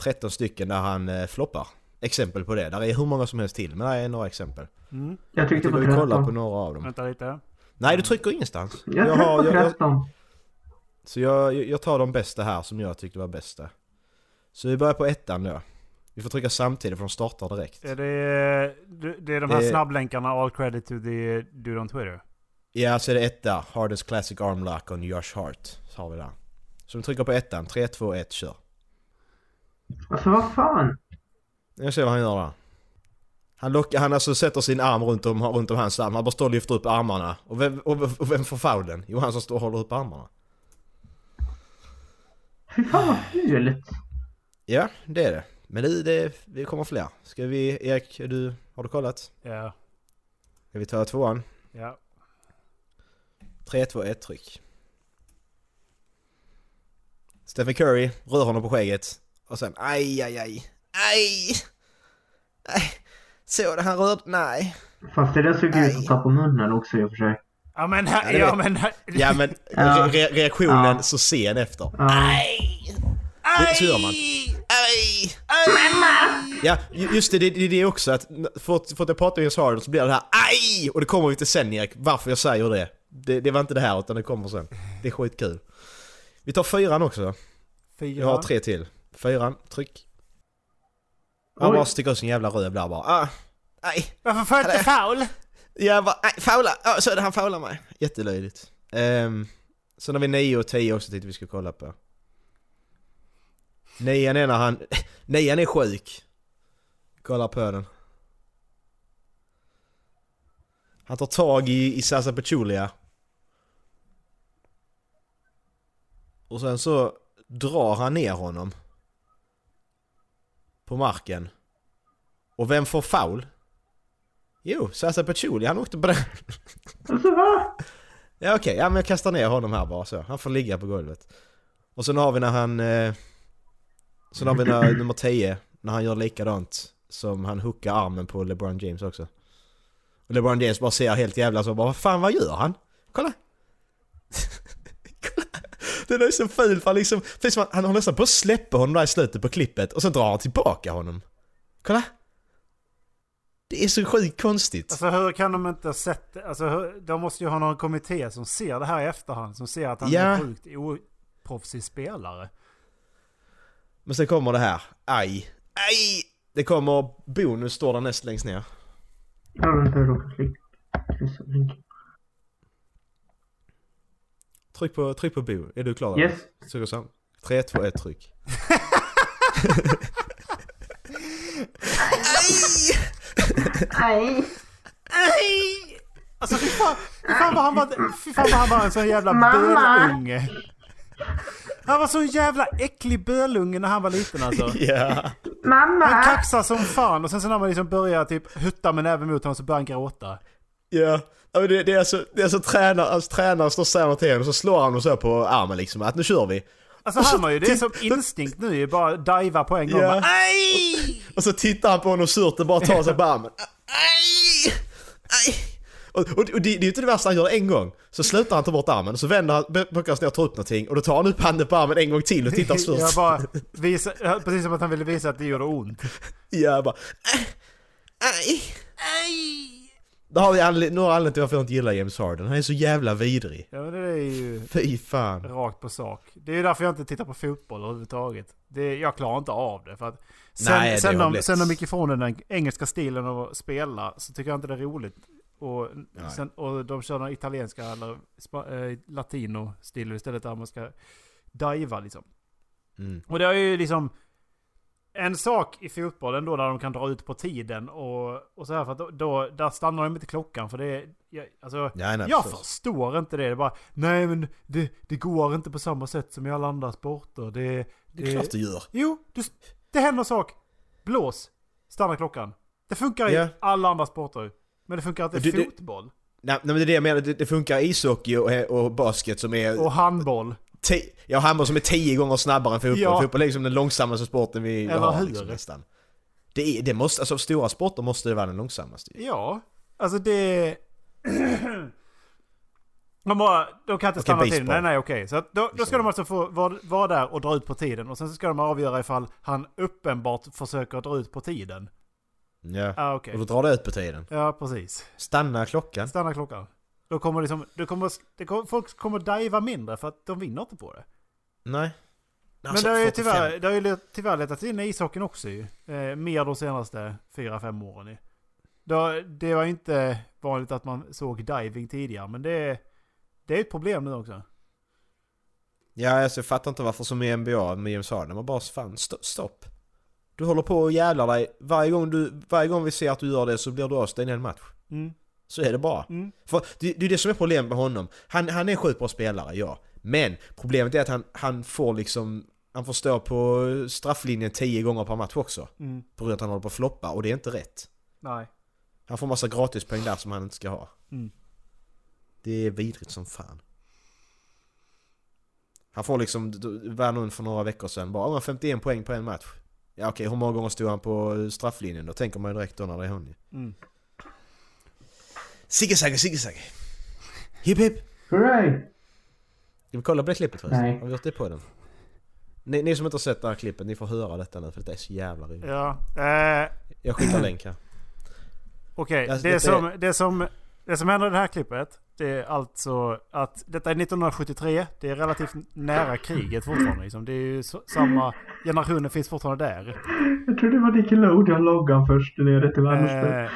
Speaker 8: 13 stycken där han eh, floppar. Exempel på det. Där är hur många som helst till men där är några exempel.
Speaker 10: Jag
Speaker 8: Jag
Speaker 10: tryckte på
Speaker 8: tycker vi kollar på
Speaker 10: 13.
Speaker 8: några av dem.
Speaker 9: Vänta lite.
Speaker 8: Nej du trycker ingenstans.
Speaker 10: Jag
Speaker 8: Jag
Speaker 10: tryckte
Speaker 8: har,
Speaker 10: på
Speaker 8: jag, jag,
Speaker 10: 13.
Speaker 8: så jag, jag tar de bästa här som jag tyckte var bästa. Så vi börjar på ettan då. Vi får trycka samtidigt för de startar direkt.
Speaker 9: Är det, det är de här
Speaker 8: Eh.
Speaker 9: snabblänkarna, all credit to the dude on Twitter.
Speaker 8: Ja, så är det etta. Hardens Classic Arm Lock on Josh Hart. Så har vi där. Så vi trycker på ettan. 3, 2, 1, kör.
Speaker 10: Alltså vad fan?
Speaker 8: Jag ser vad han gör där. Han, lockar, han alltså sätter sin arm runt om, runt om hans arm. Han bara står och lyfter upp armarna. Och vem, och, och vem får foulen? Jo, han som står och håller upp armarna.
Speaker 10: Fy fan vad fult.
Speaker 8: Ja, det är det. Men det, det, det kommer fler. Ska vi, Erik, är du, har du kollat?
Speaker 9: Ja,
Speaker 8: Ska vi ta tvåan?
Speaker 9: ja.
Speaker 8: 3, 2, 1, tryck. Stephen Curry rör honom på skägget och sen aj, aj, aj, aj. aj. Såg det han rörde? Nej.
Speaker 10: Fast det där såg ut
Speaker 8: Aj.
Speaker 10: som ta på munnen också i och för sig.
Speaker 9: Ja men,
Speaker 8: Ja,
Speaker 9: här,
Speaker 8: det
Speaker 9: ja,
Speaker 8: vet-
Speaker 9: men här,
Speaker 8: Ja men re- re- reaktionen så sen efter.
Speaker 10: Ja.
Speaker 8: Det, så gör man. Aj! Mamma! Ja, ju- just det, det, det är det också att n- för att, för att jag pratar med Jens Harden så blir det här aj! Och det kommer vi till sen Erik, varför jag säger det. det. Det var inte det här utan det kommer sen. Det är skitkul. Vi tar fyran också.
Speaker 9: fyra.
Speaker 8: Jag har tre till. Fyran, tryck. Han
Speaker 10: Oj.
Speaker 8: bara sticker ut sin jävla röv där bara. Ah, aj.
Speaker 9: Varför får jag inte foul?
Speaker 8: Jag bara, aj, faula. Ah, så är det, han faular mig. Jättelöjligt. Um, sen har vi 9 och 10 också tänkte vi skulle kolla på. Nian är när han... Nian är sjuk. Kolla på den. Han tar tag i, i Sasa Pachulia. Och sen så drar han ner honom. På marken. Och vem får foul? Jo, Sasa Pachulia, han åkte på den.
Speaker 10: Alltså va?
Speaker 8: Ja okej, ja men jag kastar ner honom här bara så. Han får ligga på golvet. Och sen har vi när han... Eh, sen har vi när, nummer 10, när han gör likadant som han hookar armen på LeBron James också. Och LeBron James bara ser helt jävla så bara vad fan vad gör han? Kolla! Kolla! Det där är så fult för han liksom... Precis som han, han håller nästan på att släppa honom där i slutet på klippet och sen drar han tillbaka honom. Kolla! Det är så sjukt konstigt.
Speaker 9: Alltså hur kan de inte ha sett det? Alltså hur, de måste ju ha någon kommitté som ser det här i efterhand. Som ser att han
Speaker 8: Ja.
Speaker 9: är en sjukt oproffsig spelare.
Speaker 8: Men sen kommer det här. Aj. Aj! Det kommer bonus står där näst längst ner.
Speaker 10: Jag har inte råkat klicka. Kryssa länk.
Speaker 8: Tryck på, tryck på bo. Är du klar?
Speaker 10: Yes.
Speaker 8: Tryck och sam. 3, 2, 1, tryck.
Speaker 9: Alltså fy fan, fy fan vad han var, fy fan vad han var en sån jävla bölunge. Han var sån jävla äcklig bölunge när han var liten alltså.
Speaker 8: Ja.
Speaker 9: Han kaxar som fan och sen så när man liksom börjar typ hutta med näven mot honom så börjar han gråta.
Speaker 8: Ja. Ja, men Det, det är alltså, det är alltså tränaren, alltså, tränaren står och säger något till honom och så slår han och så på armen liksom att nu kör vi.
Speaker 9: Alltså han har ju det som instinkt nu ju bara diva på en gång.
Speaker 8: Ja.
Speaker 9: Bara, "Aj!"
Speaker 8: Och så tittar han på honom surt och bara tar sig på armen. Aj! Aj! Och, och, och det, det är ju inte det värsta han gör en gång. Så slutar han ta bort armen och så vänder han, plockar han sig ner och tar upp någonting och då tar han upp handen på armen en gång till och tittar surt.
Speaker 9: "Äh!" Jag bara visa, precis som att han ville visa att det gjorde ont.
Speaker 8: Ja, bara... "Aj, Aj! Aj! Då har vi anled- några anledningar till varför jag inte gillar James Harden. Han är så jävla vidrig.
Speaker 9: Ja men det är ju
Speaker 8: Fy fan.
Speaker 9: rakt på sak. Det är ju därför jag inte tittar på fotboll överhuvudtaget. Det, jag klarar inte av det. För att sen,
Speaker 8: Nej, det
Speaker 9: sen,
Speaker 8: har
Speaker 9: de,
Speaker 8: blivit-
Speaker 9: sen de gick ifrån den där engelska stilen att spela så tycker jag inte det är roligt. Och, sen, och de kör den italienska eller spa- eh, latino-stil istället där man ska diva liksom.
Speaker 8: Mm.
Speaker 9: Och det har ju liksom... en sak i fotbollen då där de kan dra ut på tiden och, och så här för att då, då, där stannar de inte klockan för det är, jag, alltså,
Speaker 8: Nej, nej,
Speaker 9: jag
Speaker 8: förstås.
Speaker 9: förstår inte det. Det är bara, nej men det, det går inte på samma sätt som i alla andra sporter. Det, det,
Speaker 8: Det är klart det gör.
Speaker 9: Jo, du, det händer en sak. Blås, stanna klockan. Det funkar
Speaker 8: Ja.
Speaker 9: i alla andra sporter. Men det funkar inte i
Speaker 8: Du- du-
Speaker 9: fotboll.
Speaker 8: Nej, nej men det är det jag menar, det, det funkar i ishockey och, och basket som är...
Speaker 9: Och handboll.
Speaker 8: ti- ja, handboll som är tio gånger snabbare än fotboll.
Speaker 9: Ja.
Speaker 8: Fotboll är liksom den långsammaste sporten vi vi
Speaker 9: Eller
Speaker 8: har
Speaker 9: hur?
Speaker 8: liksom, nästan. Det, är, det måste, alltså av stora sporter måste det vara den långsammaste ju.
Speaker 9: Ja, alltså det... De bara, de kan inte stanna tiden.
Speaker 8: baseball.
Speaker 9: Nej, nej, okej. Så att då, då ska de alltså få vara, vara där och dra ut på tiden. Och sen så ska de avgöra ifall han uppenbart försöker dra ut på tiden.
Speaker 8: Ja.
Speaker 9: Ja, okej.
Speaker 8: Och då drar det ut på tiden.
Speaker 9: Ja, precis.
Speaker 8: Stanna klockan.
Speaker 9: Stanna klockan. Då kommer liksom, det kommer, det kommer, folk kommer diva mindre för att de vinner inte på det.
Speaker 8: Nej. Alltså,
Speaker 9: Men det har ju tyvärr, det har ju let- tyvärr letat in i ishockeyn också ju. Eh, mer de senaste 4-5 åren ju. Då, det var ju inte vanligt att man såg diving tidigare, men det, det är ett problem nu också.
Speaker 8: Ja, alltså, jag fattar inte varför som i NBA med James Harden. Man bara fan, sto- stopp. Du håller på och jävlar dig. Varje gång, du, varje gång vi ser att du gör det så blir du avstängd i en match.
Speaker 9: Mm.
Speaker 8: Så är det bara.
Speaker 9: Mm.
Speaker 8: För det, det är det som är problemet med honom. Han, han är en sjukt bra spelare, ja. Men problemet är att han, han får liksom... Han får stå på strafflinjen tio gånger per match också.
Speaker 9: Mm.
Speaker 8: På grund av att han håller på att floppa och det är inte rätt.
Speaker 9: Nej.
Speaker 8: Han får massa gratispoäng där som han inte ska ha.
Speaker 9: Mm.
Speaker 8: Det är vidrigt som fan. Han får liksom, Värnund för några veckor sedan bara, "Ja, men 51 poäng på en match. Ja okej, hur många gånger stod han på strafflinjen då? Tänker man ju direkt då när det är hon ju.
Speaker 9: Mm.
Speaker 8: Ziggesagge, ziggesagge. Hipp hipp!
Speaker 10: Hurray!
Speaker 8: Ska vi kolla på det klippet förresten?
Speaker 10: Nej.
Speaker 8: Har vi gjort det på den? Ni, ni som inte har sett det här klippet, ni får höra detta nu för det är så jävla roligt.
Speaker 9: Ja. Eh,
Speaker 8: Jag skickar länk här.
Speaker 9: Okej,
Speaker 8: Alltså,
Speaker 9: det,
Speaker 8: detta
Speaker 9: som, det, som, det som händer i det här klippet, det är alltså att detta är 1973, det är relativt nära kriget fortfarande. Liksom. Det är ju så, samma, generationen finns fortfarande där.
Speaker 10: Jag trodde det var Nickelodeon-loggan först nere till vänster.
Speaker 9: Eh,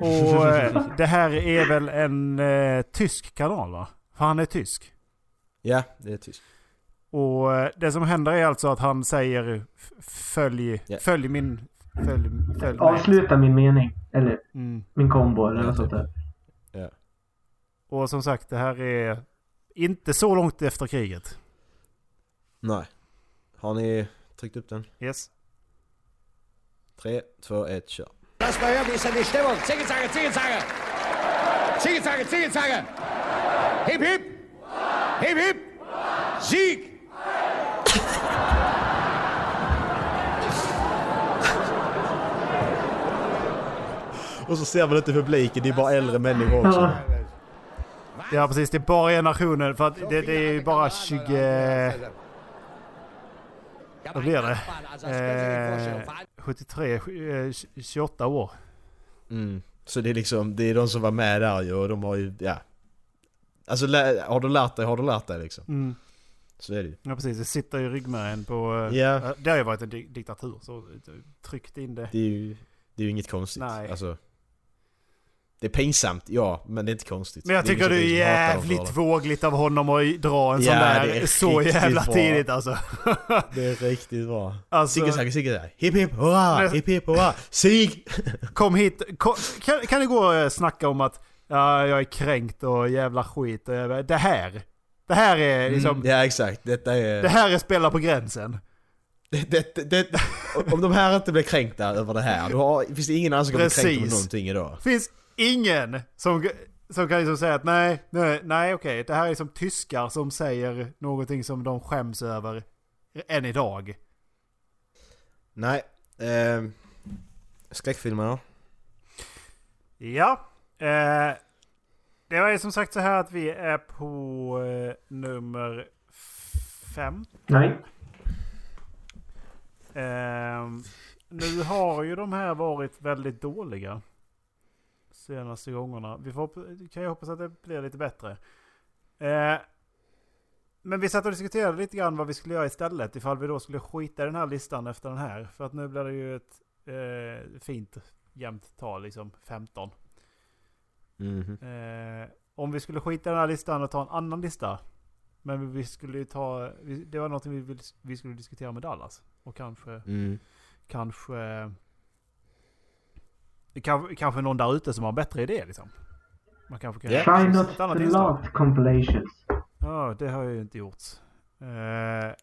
Speaker 9: och eh, det här är väl en eh, tysk kanal va? För han är tysk.
Speaker 8: Ja, det är tyst.
Speaker 9: Och eh, det som händer är alltså att han säger f- följ,
Speaker 8: Ja.
Speaker 9: följ min... Följ, följ mig.
Speaker 10: Avsluta min mening. Eller
Speaker 9: Mm.
Speaker 10: min kombo eller
Speaker 8: Ja,
Speaker 10: något
Speaker 8: typ.
Speaker 10: sånt där.
Speaker 9: Och som sagt det här är inte så långt efter kriget.
Speaker 8: Nej. Har ni tryckt upp den?
Speaker 9: Yes.
Speaker 8: 3, 2, 1, kör.
Speaker 2: Lass mal hören, wie ist denn die Stimmung? Zicke-Zacke, Zicke-Zacke! Zicke-Zacke, Zicke-Zacke! Hip, hip! Hip, hip! Sieg!
Speaker 8: Och så ser man inte publiken, det är bara äldre människor också.
Speaker 9: Ja precis, det är bara generationen för att det, det är ju bara 20... Vad blir det? Eh, 73, eh, 28 år.
Speaker 8: Mm. Så det är liksom, det är de som var med där ju och de har ju, ja. Alltså lä- har du lärt dig, har du lärt dig liksom.
Speaker 9: Mm.
Speaker 8: Så är det ju.
Speaker 9: Ja precis, det sitter i ryggmärgen på... eh,
Speaker 8: Ja.
Speaker 9: Det har ju varit en di- diktatur så eh, tryckt in det.
Speaker 8: Det är ju, det är ju inget konstigt.
Speaker 9: Nej.
Speaker 8: Alltså. Det är pinsamt, ja, men det är inte konstigt.
Speaker 9: Men jag
Speaker 8: Det är
Speaker 9: tycker
Speaker 8: ingen
Speaker 9: det är
Speaker 8: som hatar dem för
Speaker 9: jävligt vågligt av honom att dra en
Speaker 8: Ja,
Speaker 9: sån
Speaker 8: det
Speaker 9: där
Speaker 8: är
Speaker 9: så
Speaker 8: riktigt
Speaker 9: jävla
Speaker 8: bra.
Speaker 9: tidigt alltså.
Speaker 8: Det Det är riktigt bra.
Speaker 9: Alltså-
Speaker 8: Sigge sagge, sigge sagge. Hipp hipp hurra,
Speaker 9: Men-
Speaker 8: hipp hipp hurra. Sig!
Speaker 9: Kom hit, kom, kan, kan det gå och snacka om att ja, jag är kränkt och jävla skit. och jävla- Det här, det här är liksom,
Speaker 8: Ja exakt, detta är...
Speaker 9: det här är spela på gränsen.
Speaker 8: Det, det, det, om de här inte blir kränkta över det här, då har, finns det ingen annan som kommer bli kränkt över
Speaker 9: Precis.
Speaker 8: någonting idag.
Speaker 9: finns ingen som, som kan liksom säga att nej, nej, nej okej, det här är som tyskar som säger någonting som de skäms över än idag.
Speaker 8: Nej. Eh, skräckfilmer då?
Speaker 9: Ja. Eh, det var ju som sagt så här att vi är på eh, nummer fem.
Speaker 10: Nej.
Speaker 9: Ehm, nu har ju de här varit väldigt dåliga. Senaste gångerna. Vi får, hoppa- kan ju hoppas att det blir lite bättre. Eh, men vi satt och diskuterade lite grann vad vi skulle göra istället. Ifall vi då skulle skita i den här listan efter den här. För att nu blir det ju ett eh, fint jämnt tal, liksom 15.
Speaker 8: Mhm.
Speaker 9: Eh, om vi skulle skita i den här listan och ta en annan lista. Men vi skulle ju ta, vi, det var någonting vi, ville- vi skulle diskutera med Dallas. Och kanske
Speaker 8: Mm.
Speaker 9: kanske... Kanske, kanske någon där ute som har en bättre idé liksom. Man kanske kan...
Speaker 10: Try
Speaker 9: ett
Speaker 10: not
Speaker 9: annat
Speaker 10: to
Speaker 9: inslag.
Speaker 10: love compilations.
Speaker 9: Ja, det har ju inte gjorts. Eh,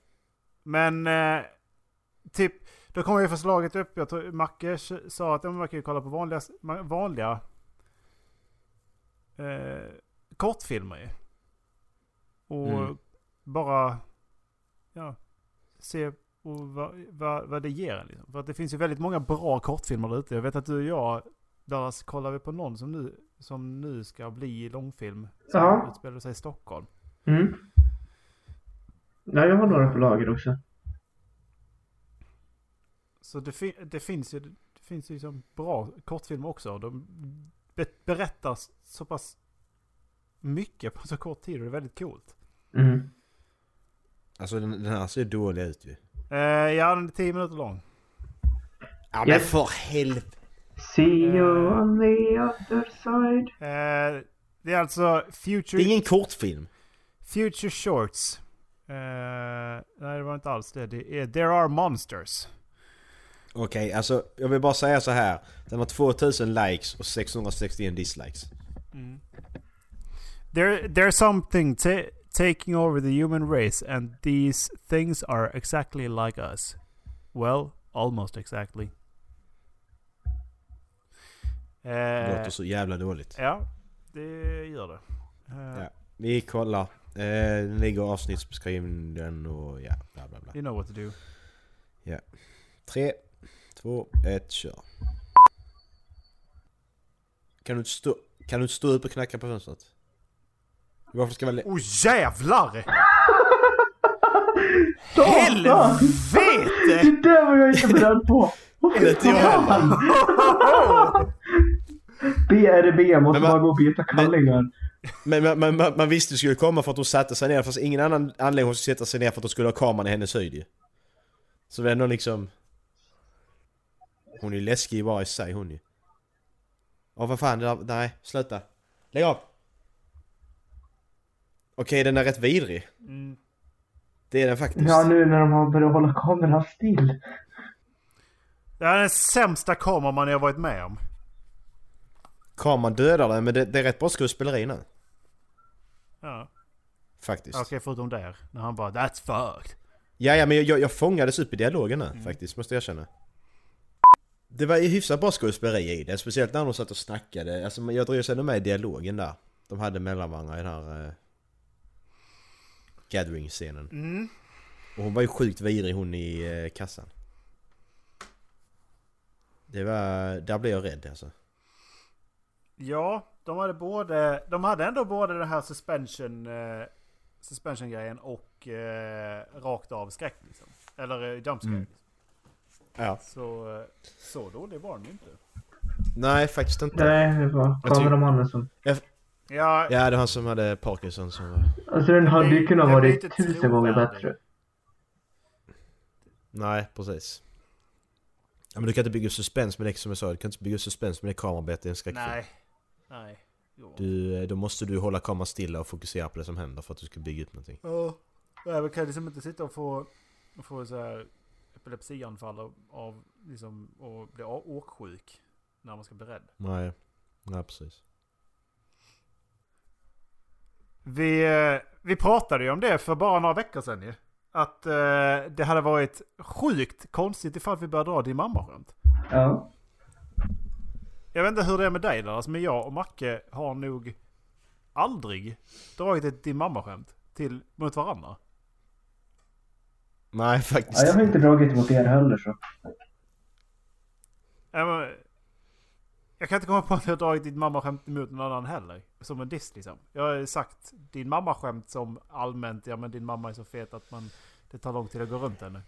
Speaker 9: men eh, typ, då kom ju förslaget upp. Jag tror Macke s- sa att ja, men man kan ju kolla på vanliga, s- ma- vanliga eh, kortfilmer ju. Och
Speaker 11: Mm.
Speaker 9: bara ja, se och vad, vad, vad det ger en. Liksom. För att det finns ju väldigt många bra kortfilmer där ute. Jag vet att du och jag, Dallas, kollar vi på någon som nu, som nu ska bli långfilm. Som
Speaker 10: Ja.
Speaker 9: utspelar sig i Stockholm.
Speaker 10: Mm. Ja, jag har några på lager också.
Speaker 9: Så det, fin- det finns ju, det finns ju liksom bra kortfilmer också. De be- berättar s- så pass mycket på så kort tid och det är väldigt coolt.
Speaker 10: Mm.
Speaker 8: Alltså den, den här ser dålig ut ju.
Speaker 9: Eh, ja, den är tio minuter lång.
Speaker 8: Ja
Speaker 9: Ja.
Speaker 8: men för helvete.
Speaker 10: See you on the other side.
Speaker 9: Eh, det är alltså Future...
Speaker 8: Det är ingen kortfilm.
Speaker 9: Future Shorts. Eh, nej, det var inte alls det. Det är There Are Monsters.
Speaker 8: Okej, alltså jag vill bara säga så här. Den har 2000 likes och 661 dislikes.
Speaker 9: There, there's something ta- taking over the human race, and these things are exactly like us. Well, almost exactly.
Speaker 8: Det
Speaker 9: Eh,
Speaker 8: låter så jävla dåligt.
Speaker 9: ja, det gör det. Eh,
Speaker 8: Ja. Vi kollar. Eh, den ligger i avsnittsbeskrivningen och ja, bla bla bla.
Speaker 9: You know what to do.
Speaker 8: Ja. 3, 2, 1, kör. Kan du inte stå, kan du inte stå upp och knacka på fönstret? Varför ska man... le-
Speaker 9: Åh oh, jävlar!
Speaker 10: Det
Speaker 9: Helvete!
Speaker 10: där var jag inte beredd på! Vad
Speaker 8: Eller inte jag
Speaker 10: fan? BRB måste
Speaker 8: Men man-
Speaker 10: bara gå och byta kallingar.
Speaker 8: Men man, man, man, man visste det skulle komma för att hon satte sig ner. Det fanns ingen annan anledning hon skulle sätta sig ner för att hon skulle ha kameran i hennes höjd ju. Så det är ändå liksom... Hon är ju läskig bara i sig hon ju. Ja vad fan, det där, nej sluta. Lägg av! Okej den är rätt vidrig.
Speaker 9: Mm.
Speaker 8: Det är den faktiskt.
Speaker 10: Ja, nu när de har börjat hålla kameran still.
Speaker 9: Det här är den sämsta kameraman jag varit med om.
Speaker 8: Kameran dödar den men det, det är rätt bra skådespeleri nu.
Speaker 9: Ja.
Speaker 8: Faktiskt.
Speaker 9: Okej, förutom där. När han bara That's fucked.
Speaker 8: Ja, ja men jag- jag, jag fångades upp i dialogen
Speaker 9: Mm.
Speaker 8: nu faktiskt, måste jag erkänna. Det var ju hyfsat bra skådespeleri i det, speciellt när de satt och snackade. Alltså, men jag drevs ändå med i dialogen där. De hade mellan varandra i den här... Eh, Gathering-scenen.
Speaker 9: Mm.
Speaker 8: Och hon var ju sjukt vidrig hon i eh, kassan. Det var... Där blev jag rädd alltså.
Speaker 9: Ja, de hade både... De hade ändå både den här suspension... Eh, suspension-grejen och eh, rakt av skräck liksom. Eller eh, jump scare.
Speaker 8: Mm. Ja.
Speaker 9: Så, eh, så dålig var den ju inte.
Speaker 8: Nej, faktiskt inte.
Speaker 10: Nej, det var
Speaker 8: Jag tror-
Speaker 10: kameramannen som...
Speaker 9: Ja,
Speaker 8: Ja, det var han som hade Parkinson som var...
Speaker 10: Alltså den hade ju kunnat
Speaker 9: Jag blir
Speaker 10: vara
Speaker 9: inte
Speaker 10: tusen gånger
Speaker 9: trovärdig.
Speaker 10: bättre.
Speaker 8: Nej, precis. Ja, men du kan inte bygga suspens med det som jag sa. Du kan inte bygga suspens med det kamerarbete i en skräckfilm.
Speaker 9: nej. Nej. Jo.
Speaker 8: Du, eh, då måste du hålla kameran stilla och fokusera på det som händer för att du ska bygga upp någonting.
Speaker 9: Ja. Nej, men kan jag liksom inte sitta och få, och få så här epilepsianfall av, av liksom, och bli a- åksjuk när man ska bli rädd.
Speaker 8: Nej, nej precis.
Speaker 9: Vi, eh, vi pratade ju om det för bara några veckor sedan ju. Att eh, det hade varit sjukt konstigt ifall vi började dra din mamma skämt.
Speaker 10: Ja.
Speaker 9: Jag vet inte hur det är med dig Dallas, men jag och Macke har nog aldrig dragit ett din mamma skämt till, mot varandra.
Speaker 8: Nej
Speaker 10: ja,
Speaker 8: faktiskt.
Speaker 10: jag har inte dragit mot er heller så.
Speaker 9: Ja, men- Jag kan inte komma på att jag har dragit ditt mammaskämt emot någon annan heller. Som en diss liksom. Jag har ju sagt din mammaskämt som allmänt, ja men din mamma är så fet att man, det tar lång tid att gå runt henne.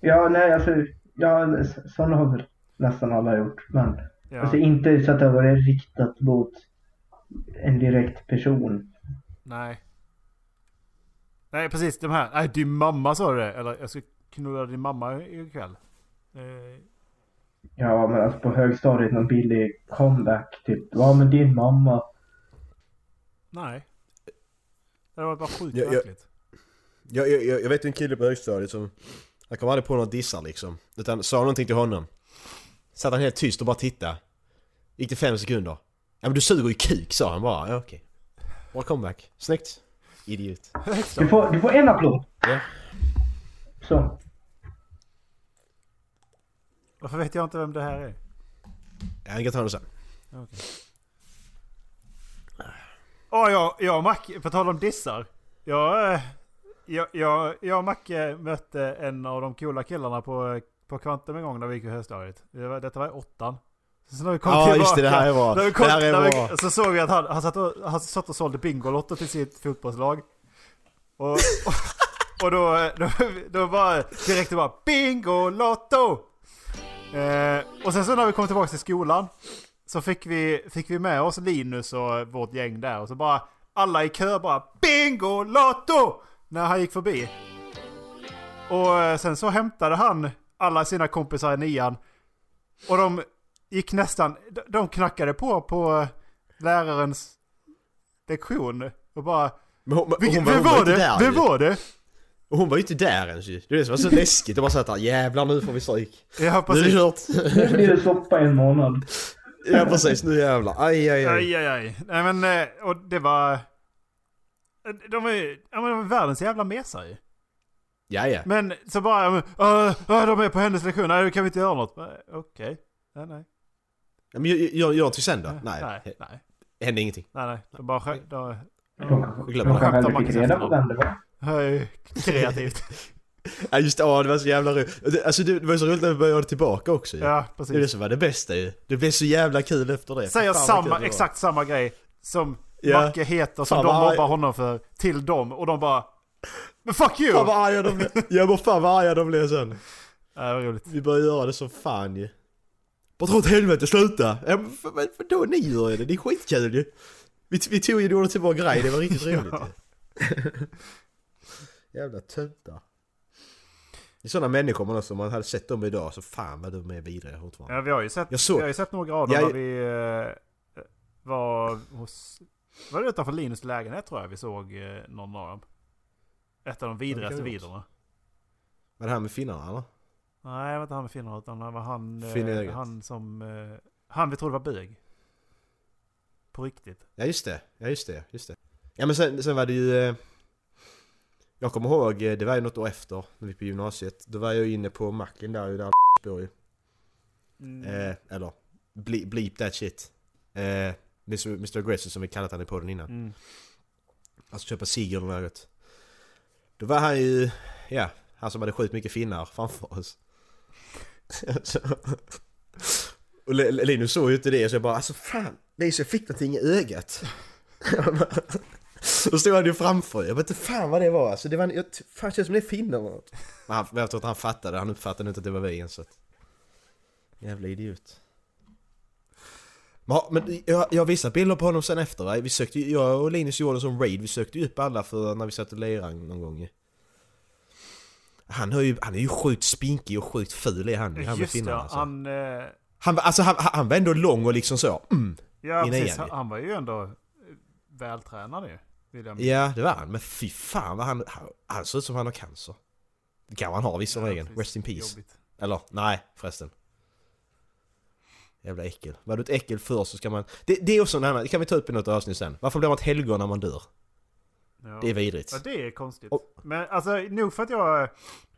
Speaker 10: Ja, nej alltså. Ja, s- sådana har väl nästan alla gjort. Men
Speaker 9: Ja.
Speaker 10: alltså inte så att det har varit riktat mot en direkt person.
Speaker 9: Nej. Nej precis, de här. Nej din mamma sa det. Eller jag ska knulla din mamma i- ikväll. Eh,
Speaker 10: Ja, men alltså på högstadiet någon billig comeback typ. Ja, men din mamma.
Speaker 9: nej. Det var bara sjukt
Speaker 8: Jag- jag-
Speaker 9: verkligt.
Speaker 8: Jag, jag, jag vet en kille på högstadiet som... Jag kom aldrig på några dissar liksom. Utan sa någonting till honom. Satt han helt tyst och bara tittade. Gick det fem sekunder. Ja men du suger ju kuk sa han bara. Ja okej. Bra comeback. Snyggt. Idiot.
Speaker 10: Du får, du får en applåd.
Speaker 8: Ja.
Speaker 10: Så.
Speaker 9: Varför vet jag inte vem det här är?
Speaker 8: Jag kan ta det sen.
Speaker 9: Okej. Åh, jag, jag och Macke, på tal om dissar. Jag, eh, jag, jag, jag och Macke mötte en av de coola killarna på, eh, på Kvantum en gång när vi gick i högstadiet. Det var- Detta var i åttan. Så när vi kom
Speaker 8: Ja,
Speaker 9: tillbaka,
Speaker 8: just det, det här är bra.
Speaker 9: När vi kom,
Speaker 8: Det här är
Speaker 9: när
Speaker 8: bra.
Speaker 9: Vi, så såg vi att han, han, satt och, han satt och sålde Bingolotto till sitt fotbollslag. Och, och, och då, då, då bara direkt bara Bingolotto! Eh, och sen så när vi kom tillbaka till skolan så fick vi, fick vi med oss Linus och vårt gäng där och så bara alla i kö bara Bingo Lotto! När han gick förbi. Och eh, sen så hämtade han alla sina kompisar i nian. Och de gick nästan, de- de knackade på på eh, lärarens lektion och bara
Speaker 8: Men hon,
Speaker 9: "Vil-
Speaker 8: hon,
Speaker 9: Vem
Speaker 8: hon
Speaker 9: var
Speaker 8: inte
Speaker 9: det?
Speaker 8: där
Speaker 9: Vem
Speaker 8: ju.
Speaker 9: var det?
Speaker 8: Och hon var ju inte där ens ju. Det är det som var så läskigt. Det var såhär jävlar nu får vi stryk.
Speaker 9: Ja,
Speaker 8: Nu är det
Speaker 9: precis.
Speaker 8: kört.
Speaker 10: Nu blir det soppa i en månad.
Speaker 8: Ja precis, nu jävlar. Aj aj aj.
Speaker 9: Aj, aj, aj. Nej men, eh, och det var... De är ju, ja men de är världens jävla mesar ju.
Speaker 8: Ja ja.
Speaker 9: Men så bara, uh, de är på hennes lektion, nej då kan vi inte göra något. Men, Okej, nej nej.
Speaker 8: Ja, Men gör- gör gör till sen då? Nej.
Speaker 9: Mm. Nej, nej.
Speaker 8: Hände ingenting.
Speaker 9: Nej, nej. De bara skä- de,
Speaker 10: De,
Speaker 8: Glöm
Speaker 10: de
Speaker 8: det.
Speaker 10: kanske aldrig
Speaker 9: Skämtar
Speaker 10: fick
Speaker 9: man
Speaker 10: reda på vem det var.
Speaker 9: Hej, kreativt.
Speaker 8: Ja just det, ja, det var så jävla roligt. Det- Alltså det det var ju så roligt när vi började tillbaka också ju.
Speaker 9: Ja,
Speaker 8: Det är det
Speaker 9: precis.
Speaker 8: som var det bästa ju. Det blev så jävla kul efter det.
Speaker 9: Säger
Speaker 8: Fan, vad kul det
Speaker 9: samma,
Speaker 8: var.
Speaker 9: exakt samma grej som
Speaker 8: Ja.
Speaker 9: Macke heter som
Speaker 8: Fan,
Speaker 9: de
Speaker 8: vad-
Speaker 9: mobbar honom för till dem och de bara Men fuck you!
Speaker 8: Fan vad arga de blev. Ja men fan vad arga de blev sen.
Speaker 9: Ja, det var roligt.
Speaker 8: Vi började göra det som fan ju. Bara dra åt helvete, sluta! Ja men för- men vadå ni gör ju det? Det är skitkul ju. Vi, vi tog ju det till vår grej, det var riktigt roligt ju. Jävla töntar. Det är sådana människor man också, om man hade sett dem idag så fan vad de är vidriga fortfarande.
Speaker 9: Ja, vi har ju sett,
Speaker 8: Jag såg-
Speaker 9: vi har ju sett några av dem
Speaker 8: Jag-
Speaker 9: när vi eh, var hos... Var det utanför Linus lägenhet tror jag vi såg eh, någon av dem? Ett av de vidrigaste
Speaker 8: vara.
Speaker 9: videorna.
Speaker 8: Var det här med finnarna eller?
Speaker 9: Nej, det var inte han med finnarna utan det var han, eh,
Speaker 8: Finnögat.
Speaker 9: han som... eh, han vi trodde var bög. På riktigt.
Speaker 8: Ja just det, ja just det, just det. Ja men sen, sen var det ju... eh, Jag kommer ihåg, eh, det var ju något år efter, när vi gick på gymnasiet. Då var jag ju inne på macken där ju, där bor ju. Eh, eller, ble, bleep that shit. Eh, Mr. Mr. Aggressive som vi kallat han i podden innan.
Speaker 9: Mm.
Speaker 8: Alltså köpa cigg eller något. Då var han ju, ja, han som hade skjut mycket finnar framför oss. Så- och Le- Le- Linus såg ju inte det så jag bara alltså fan, Linus jag fick någonting i ögat. Då stod han ju framför jag vet inte fan vad det var alltså. Det var en, jag, fan känns som det är finnar eller något. Men han, jag tror att han fattade, han uppfattade inte att det var vi ens. så att- Jävla idiot. Men, har- men jag, jag har vissa bilder på honom sen efter va? Vi sökte, ju- jag och Linus gjorde som raid, vi sökte ju upp alla för när vi satt och lirade någon gång ju. Han, har ju, han är ju sjukt spinkig och sjukt ful är han ju, han med
Speaker 9: Just det,
Speaker 8: finnarna alltså.
Speaker 9: han... eh,
Speaker 8: Han, var- alltså, han, han han var ändå lång och liksom så. Mm.
Speaker 9: ja,
Speaker 8: Innan
Speaker 9: precis. Han,
Speaker 8: Jenny.
Speaker 9: han var ju ändå eh, vältränad ju. Vill jag minnas.
Speaker 8: Ja, det var han. Men fy fan vad han... Han, han ser ut som han har cancer. Det kan han ha visserligen.
Speaker 9: precis.
Speaker 8: Rest in peace.
Speaker 9: Jobbigt.
Speaker 8: Eller nej förresten. Jävla äckel. Var du ett äckel förr så ska man... Det, det är också en annan... Det kan vi ta upp i något avsnitt sen. Varför blir man ett helgon när man dör?
Speaker 9: Ja.
Speaker 8: Det är vidrigt.
Speaker 9: Ja, det är konstigt.
Speaker 8: Och-
Speaker 9: Men alltså, nog för att jag eh,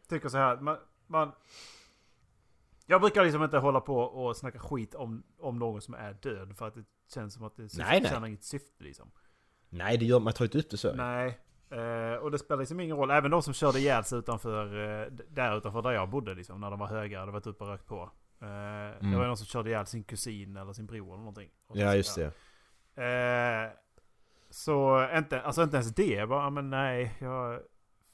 Speaker 9: tycker så här. att Man, man, jag brukar liksom inte hålla på och snacka skit om, om någon som är död. För att det känns som att det syfte,
Speaker 8: Nej, nej.
Speaker 9: tjänar inget syfte liksom.
Speaker 8: Nej, det gör man tar inte upp det så.
Speaker 9: Nej. Eh, och det spelar liksom ingen roll. Även de som körde ihjäl sig utanför, eh, d- där utanför där jag bodde liksom. När de var höga hade varit uppe och rökt på. Eh, Det var ju någon som körde ihjäl sin kusin eller sin bror eller någonting. Och
Speaker 8: Mm. Ja,
Speaker 9: så-
Speaker 8: just det.
Speaker 9: Eh, så inte, alltså inte ens det. Jag Bara, ja, men nej, jag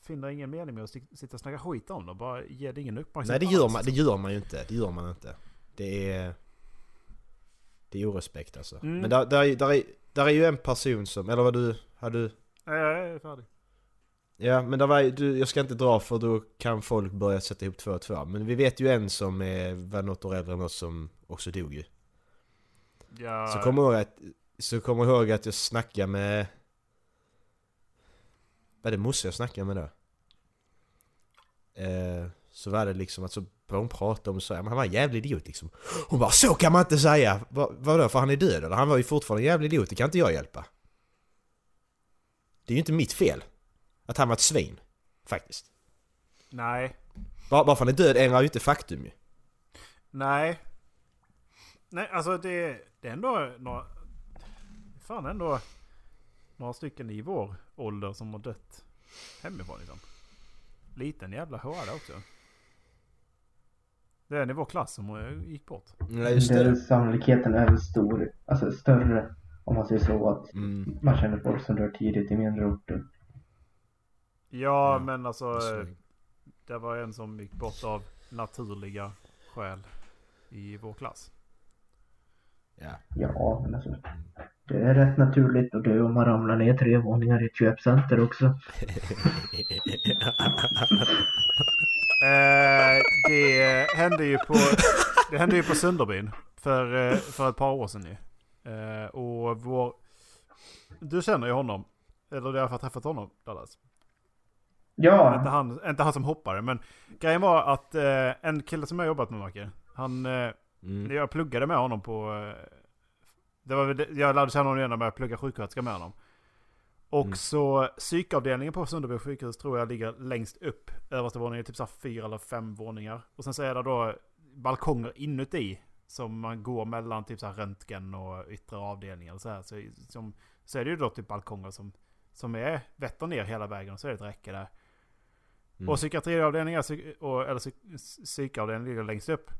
Speaker 9: finner ingen mening med att sit- sitta och snacka skit om dem. Bara ge det ingen
Speaker 8: Nej,
Speaker 9: uppmärksamhet
Speaker 8: det gör,
Speaker 9: alls.
Speaker 8: man, det gör man ju inte. Det gör man inte. Det är... Det är orespekt alltså.
Speaker 9: Mm.
Speaker 8: Men där, där, är- där, är, där är ju en person som... Eller vad du... Har du...
Speaker 9: Nej, jag är färdig.
Speaker 8: Ja, men där var, ju- du, jag ska inte dra för då kan folk börja sätta ihop två och två. Men vi vet ju en som är, var något år äldre än oss som också dog ju.
Speaker 9: Ja,
Speaker 8: Så kommer jag ihåg att, så kommer jag, ihåg att jag snackade med... Var det Mosse jag snackade med då? Eh, Så var det liksom att så började hon prata om så, men han var en jävlig idiot liksom. Hon bara så kan man inte säga! Va, vadå för han är död eller? Han var ju fortfarande en jävlig idiot, det kan inte jag hjälpa. Det är ju inte mitt fel. Att han var ett svin. Faktiskt.
Speaker 9: Nej.
Speaker 8: Bara, bara för han är död ändrar ju inte faktum ju.
Speaker 9: Nej. Nej, alltså det, det är ändå några... Fan ändå några stycken i vår ålder som har dött hemifrån liksom. Liten jävla hårda också. Det är en i vår klass som eh, gick bort.
Speaker 8: Mm.
Speaker 10: Den Sannolikheten är väl stor, alltså större om man säger så att
Speaker 8: Mm.
Speaker 10: man känner folk som dör tidigt i mindre orter.
Speaker 9: Ja, men alltså...
Speaker 10: så är
Speaker 9: eh, Det var en som gick bort av naturliga skäl i vår klass.
Speaker 8: Ja.
Speaker 10: Ja, men alltså. Det är rätt naturligt och det är om man ramlar ner tre våningar i ett köpcenter också.
Speaker 9: Eh, det hände ju på, det hände ju på Sunderbyn för, eh, för ett par år sedan ju. Eh, och vår... Du känner ju honom. Eller du har träffat honom Dallas.
Speaker 10: Ja.
Speaker 9: Inte han, inte han som hoppade men grejen var att eh, en kille som jag jobbat med Marke. Han... Eh,
Speaker 8: Mm.
Speaker 9: Jag pluggade med honom på... eh, Det var, väl det- jag lärde känna honom igen när jag började plugga sjuksköterska med honom. Och så psykavdelningen på Sunderby sjukhus tror jag ligger längst upp. Översta våningen är typ så här fyra eller fem våningar. Och sen så är det då balkonger inuti. Som man går mellan typ så här röntgen och yttre avdelningar. Och så, här. Så, som, så är det ju då typ balkonger som, som är vetter ner hela vägen. Och så är det ett räcke där.
Speaker 2: Mm.
Speaker 9: Och psykiatriavdelningen, psyk- och- eller psyk- psykavdelningen ligger längst upp.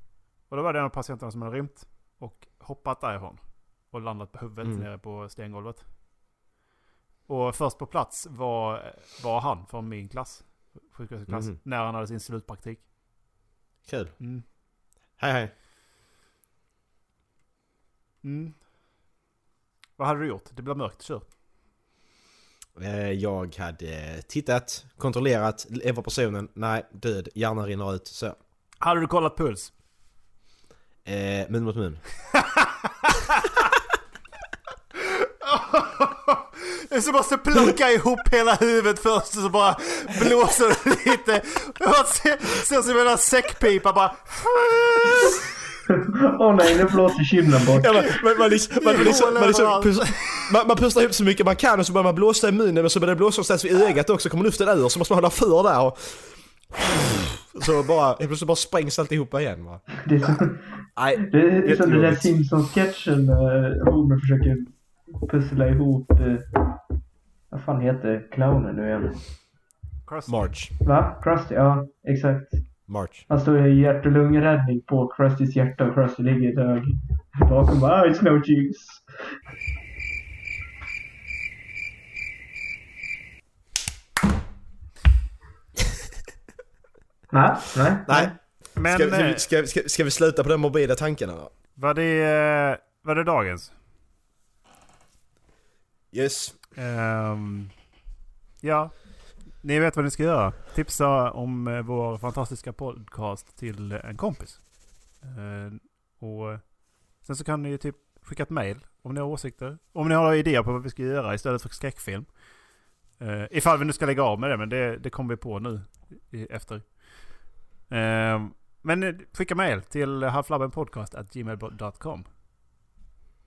Speaker 9: Och då var det en av patienterna som hade rymt och hoppat därifrån. Och landat på huvudet
Speaker 2: Mm.
Speaker 9: nere på stengolvet. Och först på plats var, var han från min klass. Sjuksköterskeklass.
Speaker 8: Mhm.
Speaker 9: När han hade sin slutpraktik.
Speaker 8: Kul.
Speaker 9: Mm.
Speaker 8: Hej hej.
Speaker 9: Mm. Vad hade du gjort? Det blir mörkt, kör.
Speaker 8: Eh, Jag hade eh, tittat, kontrollerat, lever personen, nej, död, hjärnan rinner ut, så.
Speaker 9: Hade du kollat puls?
Speaker 8: Eh, mun mot mun.
Speaker 9: Jag så måste plocka ihop hela huvudet först och så bara blåser det lite. Jag ser, ser som en säckpipa bara...
Speaker 10: Åh nej, nu blåser kylen bort.
Speaker 8: Ja, men- men man, liksom, man, man, liksom, man, liksom, pus- man, man pustar ihop så mycket man kan och så börjar man blåsa i munnen och så börjar det blåsa någonstans vid ögat också, kommer luften ur så måste man hålla för där och... Så bara, helt plötsligt bara sprängs alltihopa igen va.
Speaker 10: Det är som,
Speaker 8: Nej,
Speaker 10: det är som den där
Speaker 8: jättejobbigt.
Speaker 10: Simpsons-sketchen när Homer försöker pussla ihop... eh, Vad fan heter clownen nu igen?
Speaker 9: Alltså.
Speaker 8: March.
Speaker 10: Va? Krusty? Ja, exakt.
Speaker 8: March.
Speaker 10: Han står i hjärt och lungräddning på Krustys hjärta och Krusty ligger död bakom. Ah, it's no juice. Nej, nej.
Speaker 8: Nej.
Speaker 9: Men,
Speaker 8: ska, vi-
Speaker 9: eh,
Speaker 8: ska, vi- ska, vi- ska vi sluta på de morbida tankarna då?
Speaker 9: Var det, eh, var det dagens?
Speaker 8: Yes.
Speaker 9: Ehm, ja. Ni vet vad ni ska göra. Tipsa om eh, vår fantastiska podcast till en kompis. Eh, och sen så kan ni ju typ skicka ett mail om ni har åsikter. Om ni har idéer på vad vi ska göra istället för skräckfilm. Eh, ifall vi nu ska lägga av med det, men det, det kommer vi på nu i, efter. Eh, men eh, skicka mail till halflabbenpodcast.gmail.com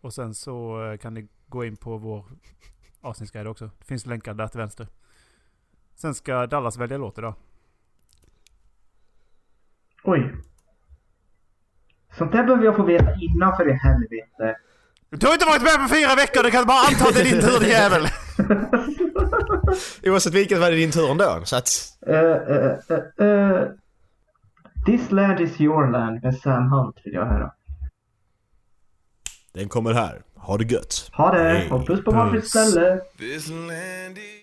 Speaker 9: Och sen så eh, kan ni gå in på vår avsnittsguide också. Det finns länkar där till vänster. Sen ska Dallas välja låt idag.
Speaker 10: Oj. Sånt där behöver jag få veta innan för i helvete.
Speaker 9: Du har inte varit med på fyra veckor, du kan bara anta att det är din tur din jävel!
Speaker 8: Oavsett vilket var det din tur ändå, så att...
Speaker 10: Eh, eh, eh, eh. This land is your land med Sam Hunt vill jag höra.
Speaker 8: Den kommer här. Ha det gött.
Speaker 10: Ha det och puss på varsitt ställe.
Speaker 5: This land is